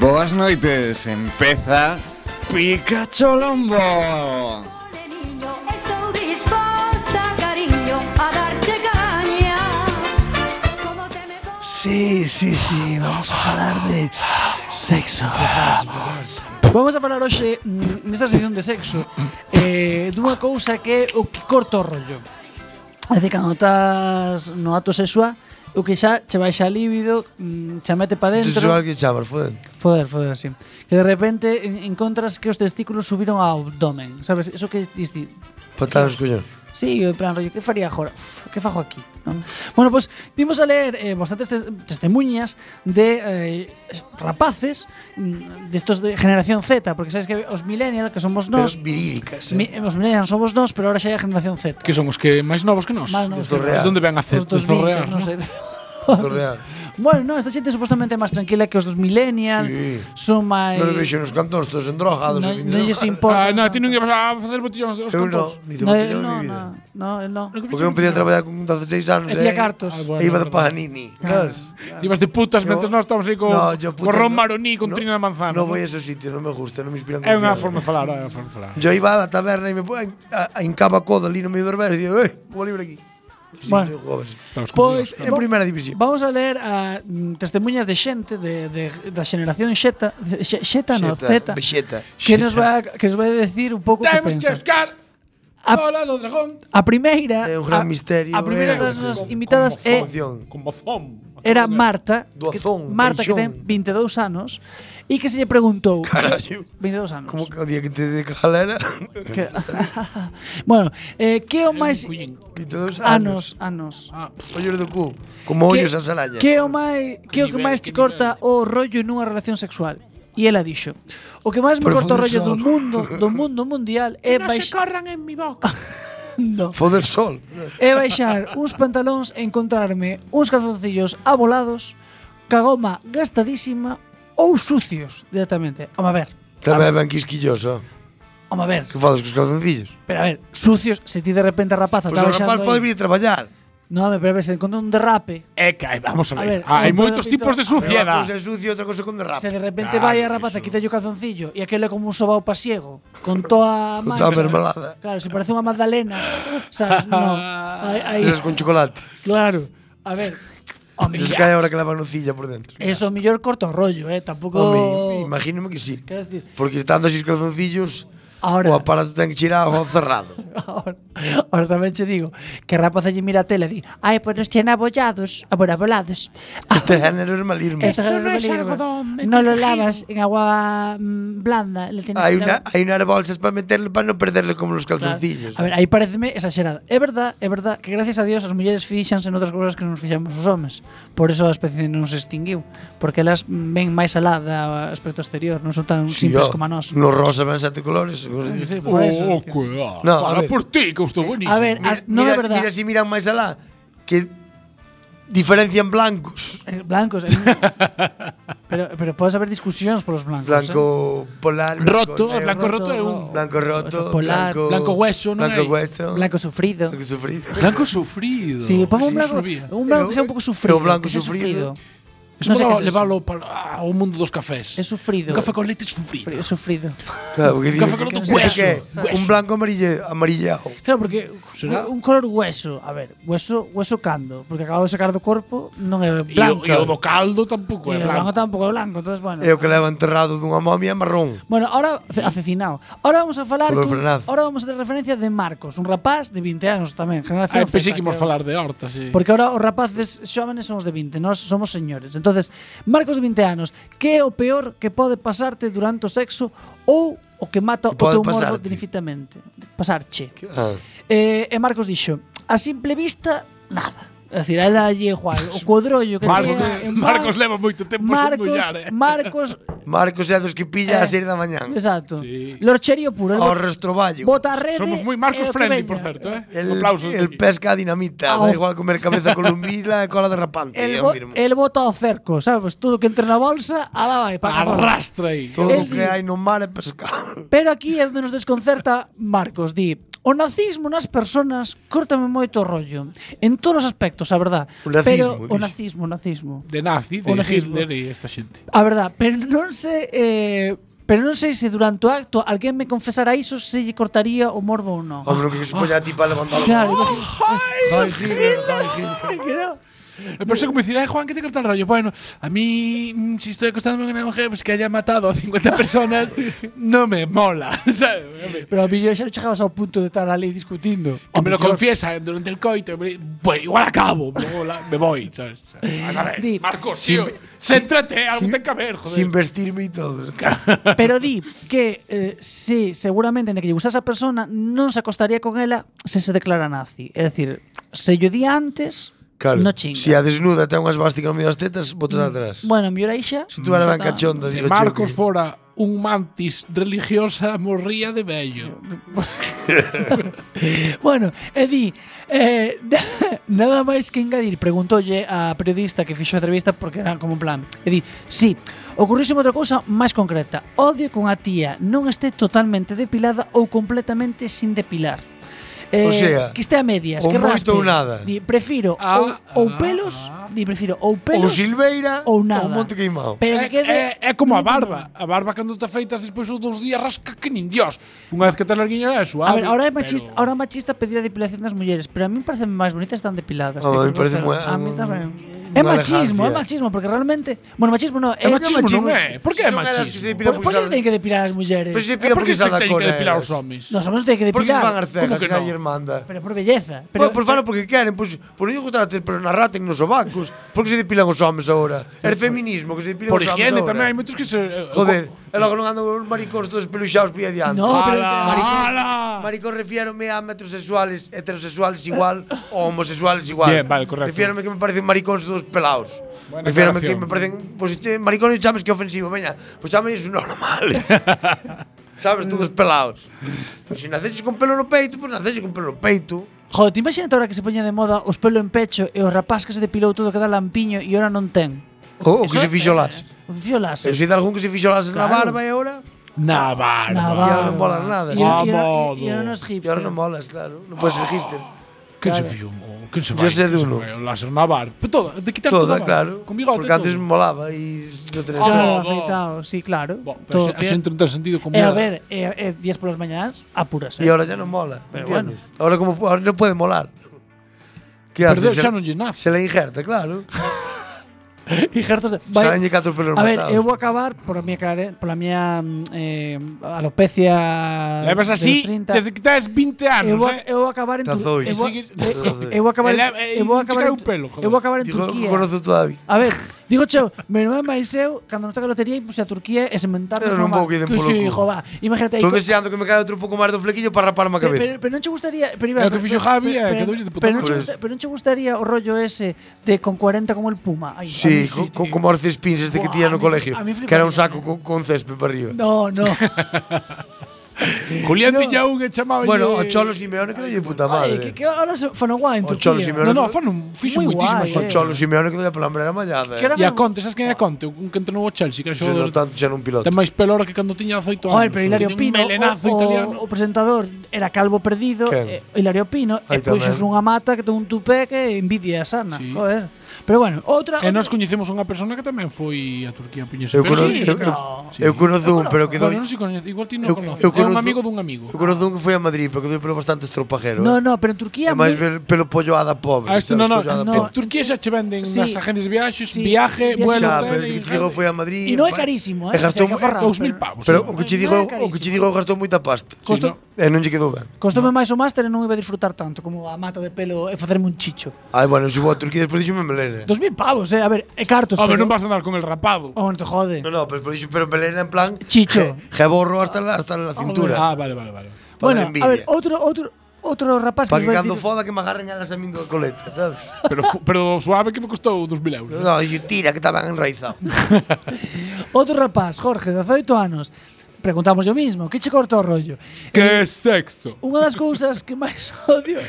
Boas noites, empeza Pikachu Lombo.
Estou disposta, cariño, a darte caña.
Sí, sí, sí, vamos a falar de sexo. Vamos a falar hoxe mm, nesta sección de sexo eh, dunha cousa que é o que corta o rollo. É de cando estás no ato sexual, o que xa che baixa a líbido, mm, xa mete pa
Tu
dentro.
sabes que chamar, foden.
Foder, foder, sí. Que de repente en- encontras que os testículos subieron ao abdomen. Sabes, eso que disti,
Patar os collón.
Sí, en plan rollo, que faría agora? Uf, Que fago aquí? Non? Bueno, pois pues, vimos a ler eh, bastantes tes testemunhas de eh, rapaces mm, destos de, generación Z, porque sabes que os millennials que somos nós,
virídicas,
mi, os millennials somos nós, pero ahora xa é a generación Z.
Que son os que máis novos que nós?
Máis novos que
Os
nós.
Donde ven a hacer?
Os dos
Os Zorrear,
20, non
non?
(laughs)
sei.
Zorrear.
Bueno, no, esta xente supostamente é máis tranquila que os dos millennials,
Sí.
son máis...
Non le vexo nos cantóns, todos endrogados.
Non-
a fin
non
de semana.
lles importa.
Ah, non, ti non ibas a facer botillóns dos
Eu non,
contos.
ni de botellón
no,
en mi vida.
no, no, el no.
Porque non podía traballar con 16 anos,
E tía
eh.
Ah,
cartos.
E iba de pajanini.
Claro,
Ti ibas de putas mentre nós estamos aí con,
No, yo
con
putas
ron
no-
maroní con
no-
trina de manzana.
Non voy a esos sitios, non me gusta, non me inspiran
É unha
confianza.
forma de falar, é unha forma de falar.
Yo iba a la taberna e me pon- a- a- hincaba o codo ali no medio do berro e digo, eh, vou libre aquí. Sí,
Bueno. Pues,
eu jugaba así.
Pois,
en primeira división.
Vamos a ler a mm, testemunhas de xente de, de, da xeración Xeta, Xe- Xeta no Z,
Xeta, Bexeta.
que nos vai a- que nos vai decir un pouco que
Temos que
pensa.
buscar a bola do dragón.
A primeira,
É un
a-
gran misterio,
A primeira
eh,
das nosas
como-
invitadas
como
é
fón.
Como zom.
era Marta,
Do
que,
azón,
Marta que ten
paixón.
22 anos e que se lle preguntou
Carallo.
22 anos.
Como que o día que te de calera.
Que- (laughs) bueno, eh, que é o máis
eh, 22
anos, anos.
Ollos do cu, como
Que-
ollos as arañas.
Que é o máis, que é o que
nivel,
máis te corta o rollo nunha relación sexual? E ela dixo: "O que máis me corta o rollo do
Profundizado.
mundo,
(laughs)
do mundo mundial é
Que no se
baixar,
corran en mi boca.
Foder sol.
é
E
baixar uns pantalóns e encontrarme uns calzoncillos abolados, cagoma gastadísima ou sucios directamente. Home, a ver,
Tamén ben quisquilloso.
home, a ver,
Que fadas cos calzoncillos?
pero a ver, sucios, se ti de repente a rapaza
Pois o rapaz pode vir a traballar. No, me pero se encontrou un derrape.
É que hai- vamos a ver.
a
hai
un
moitos
pedacito-
tipos de suciedad.
Unha cousa é sucio, outra cousa con derrape.
Se de repente
Claro,
vai a rapaza, quítalle o calzoncillo e aquilo é como un sobao pasiego, con toda a
Con toda a mermelada.
Claro, se parece unha magdalena, sabes? No. Aí,
Esas con chocolate.
Claro. A
(laughs)
ver. Home,
Esas
ya.
que hai ahora que levan nocilla por dentro.
Eso mellor corto rollo, eh, tampouco
Home, imagínome que sí.
Quero decir,
Porque estando así os calzoncillos, o
Ahora.
aparato ten que tirar ao cerrado.
(laughs) Ahora, ahora tamén che digo que a rapaza lle mira a tele e di Ai, pois nos tienen abollados, Ah, abora abolados.
Este género es malirme.
Esto no es algodón. No lo lavas en agua mm, blanda. Le tienes
Hay,
que
una,
lavar.
hay unas bolsas para meterle para no perderle como los
Claro.
calzoncillos.
A ver, aí pareceme exagerada. É verdad, é verdad que gracias a Dios as mulleres fixanse en outras cousas que non nos fixamos os homes. Por eso a especie non se extinguiu, porque elas mm, ven máis alá do aspecto exterior, non son tan
Sí,
simples
ó,
como a nós.
No rosa ven sete colores.
sí, por eso. Oh,
cuidado.
No,
Fala por ti, que eu estou buenísimo.
A ver,
Mira,
as- non
mira,
é verdad.
mira si miran máis alá, que diferencian blancos.
Eh,
(laughs)
blancos. eh, pero pero podes haber discusións polos blancos.
Blanco polar.
Roto,
negro,
blanco roto é un-
Blanco roto.
Polar.
Blanco,
Blanco hueso, non
Blanco
hai?
hueso.
Blanco sufrido.
Blanco sufrido.
Blanco sufrido.
Sí, ponme un
Sí,
blanco,
sabía.
(laughs) un blanco que sea un pouco sufrido.
Pero blanco
que sea
sufrido.
Eso
No sé
leva-
qué es eso.
levalo para ah, ao mundo dos cafés.
É sufrido.
Un café con leite sufrido.
É sufrido.
Claro, porque
Un
digo,
café con otro
¿eso
hueso.
qué es?
Hueso.
Un blanco amarille, amarillado.
Claro, porque
Será?
un color hueso, a ver, hueso, hueso cando, porque acabado de sacar do corpo non é
E o,
blanco.
e o do caldo tampouco é
E o
blanco.
tampouco é blanco, entonces bueno.
É o que leva enterrado dunha momia marrón.
Bueno, ahora ce- acecinado. Ahora vamos a falar
Color
cun-
frenaz.
ahora vamos a ter referencia de Marcos, un rapaz de 20 anos tamén, generación
Ai, pensei
Z,
que íamos
creo.
falar de horta, sí.
Porque ahora os rapaces xóvenes son os de 20, nós somos señores. Entonces, Marcos de 20 anos, que é o peor que pode pasarte durante o sexo ou o que mata o
Que pode
teu morbo
pasarte.
definitivamente? Pasarche.
Ah.
Eh, e Marcos dixo, a simple vista, nada. É dicir, a ela lle igual, o cuadrollo que
Marcos,
tenía en
Marcos
man-
leva moito tempo
Marcos,
sen mullar, eh.
Marcos,
(laughs) Marcos é dos que pilla a
Eh,
seis da mañán.
exacto. Lorcherío puro. el
Ao
bot-
restroballo.
Bota a rede.
Somos moi Marcos
e o que
friendly,
veña.
por certo, eh.
El,
Aplausos de
el
aquí.
pesca a dinamita.
Ao-
Da igual comer cabeza columbila e cola derrapante. é
El,
o
bo-
mismo.
el bota ao cerco, sabes? Todo que entre na bolsa, alá vai. pa' acabar.
Arrastra aí.
Todo o
el
que
di-
hai no mar é pescar.
Pero aquí é onde nos desconcerta Marcos, di O nazismo nas personas cortame moito o rollo En todos os aspectos, a verdad
O nazismo,
Pero o
dis.
nazismo, o nazismo
De nazi, de
O nazismo.
Hitler e esta xente.
A verdad, pero non sei eh, Pero non sei se durante o acto Alguén me confesara iso se lle cortaría o morbo ou non
Hombre, que se polla a ti para levantar
Claro,
Ay, Hitler, ay, Hitler.
Me parece como decir, ay Juan, ¿qué te corta el rollo? Bueno, a mí, mm, si estoy acostándome con una mujer pues que haya matado a 50 personas, no me mola. (laughs) ¿sabes?
Pero a mí xa non chegabas ao punto de estar ali discutindo
Que me lo
Hombre,
confiesa durante el coito, hombre, pues igual acabo, me mola, me voy. ¿sabes? A ver,
Di-
Marcos,
Sin-
tío,
sin-
céntrate, algo
sin-
te que haber, joder.
Sin vestirme y todo.
(laughs) Pero di que eh, si seguramente de que lle gustase a persona non se acostaría con ela se se declara nazi. É dicir, se yo di antes,
Claro.
no chinga. Mm.
Si a desnuda ten unhas básticas no medio das tetas, botas atrás.
Bueno, mellor aí xa.
Si tú eras
xa
ben
está.
cachondo,
si
digo
Marcos
yo
fuera un mantis religiosa, morría de bello.
Bueno, e di, eh, (laughs) nada máis que engadir. Preguntoulle a periodista que fixo a entrevista porque era como en plan. E di, sí, ocurríseme outra cousa máis concreta. Odio con a tía non esté totalmente depilada ou completamente sin depilar. Eh,
O sea,
que esté a medias,
ou
que
moito
raspe.
ou nada.
Di, prefiro ou, ou pelos, di, prefiro ou
que- Ou
pelos
silveira
ou nada.
ou monte queimado.
Pero que quede
É, é Eh, como a barba. A barba cando te afeitas despois dos dous días rasca que nin Dios. Unha vez que te larguiña é
A
suave.
ver, ahora é machista, ahora é machista pedir a depilación das mulleres, pero a mí me parecen máis bonitas están
A
depiladas. tío,
mí
que
parece
grosero.
moi-
A mí tamén.
unha
É machismo,
mm, elegancia.
é machismo, porque realmente, bueno, machismo no,
É
é,
machismo, non é? Por que é
Son elas que se
machismo?
depilan
Por, por
porque
que
saben-
se teñen que depilar as mulleres?
Pois se
É
depilan porque
porque se
saben
ten
con
que depilar os
elas.
homes.
Nos homens non teñen que
Porque se
depilar.
van arcegas,
que
que
no?
nadie manda.
Pero por belleza. Pero,
Bueno, pues fan porque queren, pois por non gustar ter, pero narraten nos sobacos. Por que se depilan os homes agora? É feminismo que se depilan
Por
os homes
higiene
agora.
tamén, hai moitos que se... eh,
Joder, e logo non andan os maricóns todos peluxados por aí adiante.
No, pero-
maricóns, maricóns Ah. refiérome a metrosexuales, heterosexuales igual, ou homosexuales igual.
Bien, vale, correcto.
Refiérome que me parecen maricóns todos pelados.
Buena
refiérome que
aclaración.
me parecen... Pois pues, maricóns chames que ofensivo, veña. Pois pues, chames iso
(laughs)
normal. Sabes, todos pelados. Pois se naceches con pelo no peito, pois pues, naceches con pelo no peito.
Joder, te imagínate ahora que se poña de moda os pelo en pecho e o rapaz que se depilou todo que dá lampiño e ahora non ten.
Ou oh, que
Eso
se fixo las.
Un fío láser.
Eu sei de algún que se fixo las na
Claro.
barba e ahora...
Na barba.
Na
Ya
barba.
non mola nada.
E- e- e-
modo.
E ahora non es
E ahora
hipster.
non molas, claro. Non podes ser hipster.
Que se fixo? O quen se vai?
Yo sé
Quen
de
se
uno.
vai? O láser navar. Pero toda, tota, de quitar
Toda,
toda,
Tota, claro.
Con bigote
Porque antes
todo. Ah,
me molaba e yo tenía
Claro,
que-
afeitado, sí, claro.
pero
Todo
se-
bien.
xente non ten sentido como
E eh. a
nada.
ver, e, e días polas mañás apúrase.
Y ahora ya no mola.
Pero
¿entiendes? Ahora como pu- ahora no puede molar. ¿Qué
Perder
hace?
xa
Se-
non lle nace.
Se le injerta, claro.
(laughs) Injertos de- vai-
Saben catro pelos
A ver,
matados.
eu vou acabar por a miña care, pola miña mm, eh, alopecia Ah,
Levas
de
así
los 30.
desde que tes 20
Eu
anos,
vou,
eh.
eu vou acabar en eh,
Te azois.
Turquía. Eu, vou-
E sigues-
eu- eu vou eh, acabar en,
E
eh,
le-
eu
e
vou
non che
acabar en,
cae un pelo, joder.
eu vou acabar en
Digo,
Turquía.
conozo todavía.
A ver, digo cheo, meu irmán máis eu, cando nos toca a lotería, imos a Turquía e sementarnos
Pero non
no
vou que
mar. Que
den polo
sí, jo,
culo.
va. Imagínate aí.
Estou
co-
deseando que me caia outro pouco máis do flequillo para raparme a
Pero, pero,
cabeza.
pero non che gustaría, pero Iván,
É o que
pero-
fixo
pero-
Javi, é,
pero-
quedoulle de puta
pero non che
madre.
gusta- pero non che gustaría o rollo ese de con 40 como el Puma. Ai, a mí
Sí, co- co- como os cespins este que
Buah,
tiña
a
no
mí-
colegio,
a mí fliparía,
que era un saco con, con césped para arriba.
No, no.
Julián tiña un e chamaba
Bueno, o Cholo Simeone quedou de puta
Ai,
madre.
que, que ahora se fan guai eh. en
O
Turquía.
Cholo Simeone.
No, no, fan un- fixo
Moi
moitísimas
guai, eh.
O Cholo Simeone quedou pola mera mallada.
E a Conte, sabes quen é Conte? Un que entrou no Chelsea, que era
Se non
xogador.
tanto xa nun piloto.
Ten máis pelo ahora que cando tiña 18 anos.
Joder, pero Hilario
Tiña
Pino,
Un melenazo
o, o-
italiano.
o presentador era calvo perdido,
Quen?
eh, Hilario Pino, e
Aí
puxos
tamén.
unha mata que ten un tupé que envidia sana, joder. Pero bueno, outra
E nós coñecemos Eh, unha persona que tamén foi a Turquía Piñose.
Eu conozo, eu, eu, eu conozo un, pero quedou
Bueno, non se coñece, igual ti non
eu-
conoces. É
eu
un
conozo-
amigo dun amigo.
Eu conozco un que foi a Madrid, pero quedou pelo bastante estropajero.
No,
eh.
no, pero en Turquía
É máis
moi-
pel- pelo polloada pobre.
Ah, este non,
sabes,
non.
polloada
En
pobre.
Turquía xa che venden
Sí.
nas agencias de viaxes,
Sí.
viaje,
Viaxe.
vuelo,
Xa,
hotel,
pero este que
e-
te digo foi a Madrid.
E non é carísimo, eh.
E gastou
Hai que aforrar,
2000 pavos.
Pero o que che digo, o que che digo gastou moita pasta.
Costou-
E non lle quedou ben.
Costome máis o máster e non iba a disfrutar tanto como a mata de pelo e facerme un chicho.
Ai, bueno, subo a Turquía despois dixo me melena.
2000 pavos, eh, a ver, e cartos.
Home, non
Ah, vas a andar con el rapado.
Home, te jode.
No, no, pero por iso, pero melena en plan
Chicho.
je- Jeborro hasta la, hasta la cintura.
Ah, vale, vale, vale.
Pa
Bueno,
dar envidia.
a ver, outro outro outro rapaz
Pa
que iba
que
a
cando
decir,
foda que me agarren elas a min do colete, sabes?
Pero, fu- pero suave que me costou 2000 euros.
No, e tira que estaban enraizado.
outro rapaz, Jorge, de 18 anos. Preguntamos o mismo, que che corta o rollo?
Que sexo?
Unha das cousas que máis odio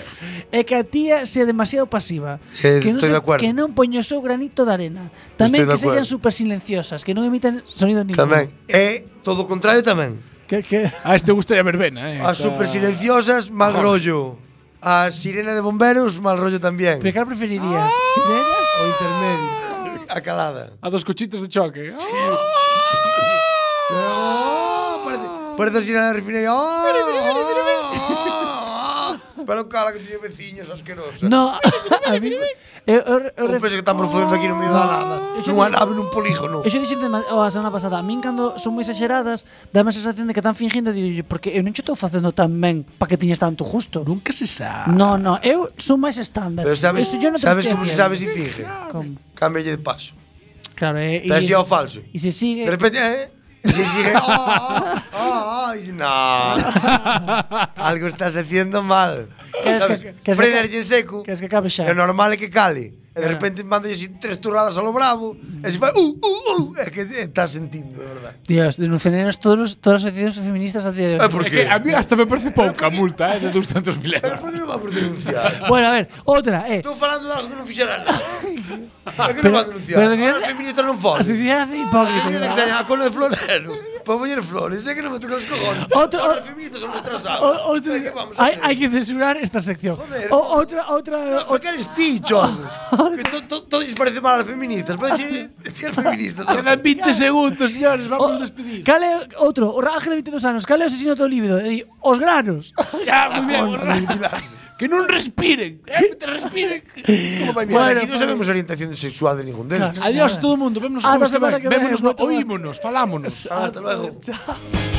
é que a tía sea demasiado pasiva.
Eh,
que non
estoy de acuerdo.
que non poño o seu granito de arena. Tamén
Estoy de
que sexan
acuerdo.
super silenciosas, que non emiten sonido ningún.
Tamén. E todo o contrario tamén.
Que, que?
A este gusta a verbena, eh.
As
Está-
super silenciosas, mal
Vamos.
rollo. A sirena de bomberos, mal rollo también. Ah.
Pero que preferirías? Sirena
o intermedio? A calada.
A dos cochitos de choque. Ah.
Oh, parece, parece a sirena de refinería. Oh, oh, oh. Pero cara que tiñe veciños asquerosa.
No, a mí, eh, eu, eu, eu,
Non pensa que estamos fodendo aquí no medio da nada.
Eso
Nunha
dice-
nave nun polígono.
Eu xa dixen a semana pasada, a min cando son moi exageradas, dáme a sensación de que están fingindo, digo, "Yo, porque eu non che estou facendo tan ben para que tiñes tanto justo.
Nunca se sabe.
No, no, eu son máis estándar.
Pero sabes,
Eso yo non te
sabes
estoy
como se
haciendo.
sabe si finge.
Como?
Cámbialle de paso.
Claro, eh,
Pero si é o falso.
E se sigue...
De repente, eh? E se
(laughs)
sigue. "Oh, oh, oh", y dice, no. Algo estás haciendo mal.
Que es
¿Sabes?
que- que es que-
Frenas en seco.
Que es que acabe xa.
Lo normal é que cale. E de
Claro.
repente manda así tres turradas a lo bravo. E se fai, uh, uh, uh. É que estás sentindo, de verdad.
Dios, denunciaremos todos, los- todas as asociacións feministas a día de hoy.
Eh, por qué?
A mí hasta me parece pouca multa, eh, de 200.000 euros.
Por que non vamos denunciar?
Bueno, a ver, outra, eh.
Estou falando de algo que non fixera nada. É que
Pero-
non va a denunciar.
pero a
Ahora
sociedade-
os feministas non foden.
A sociedade hipócrita.
Ah, Mira que teña a cola de florero. Pues Para poñer flores, é que non me tocan os cojones.
Outro-
Ahora os feministas son retrasados.
O- otro-
É que vamos a
hay,
hacer?
hay que censurar esta sección.
Joder.
O- otra, otra.
¿Por qué eres
(laughs)
ticho? que to- to- todo les parece mal a las feministas.
Ah,
Pero si si eres
(laughs)
feminista.
Quedan 20 segundos, señores, vamos a despedir.
Oh, Cale outro, o Ángel de 22 anos, cale o asesino do líbido, e di, os granos.
(laughs) Ya, muy bien. que non (laughs) respiren. eh, Que te respiren. Todo vai bien.
Bueno, aquí
pues-
no sabemos orientación sexual de ningún deles.
Adiós todo o mundo, vémonos
Ata
o jueves que
semana
vai. Ah,
que vén,
Vémonos, no,
ata-
oímonos, falámonos.
Hasta luego.
Chao.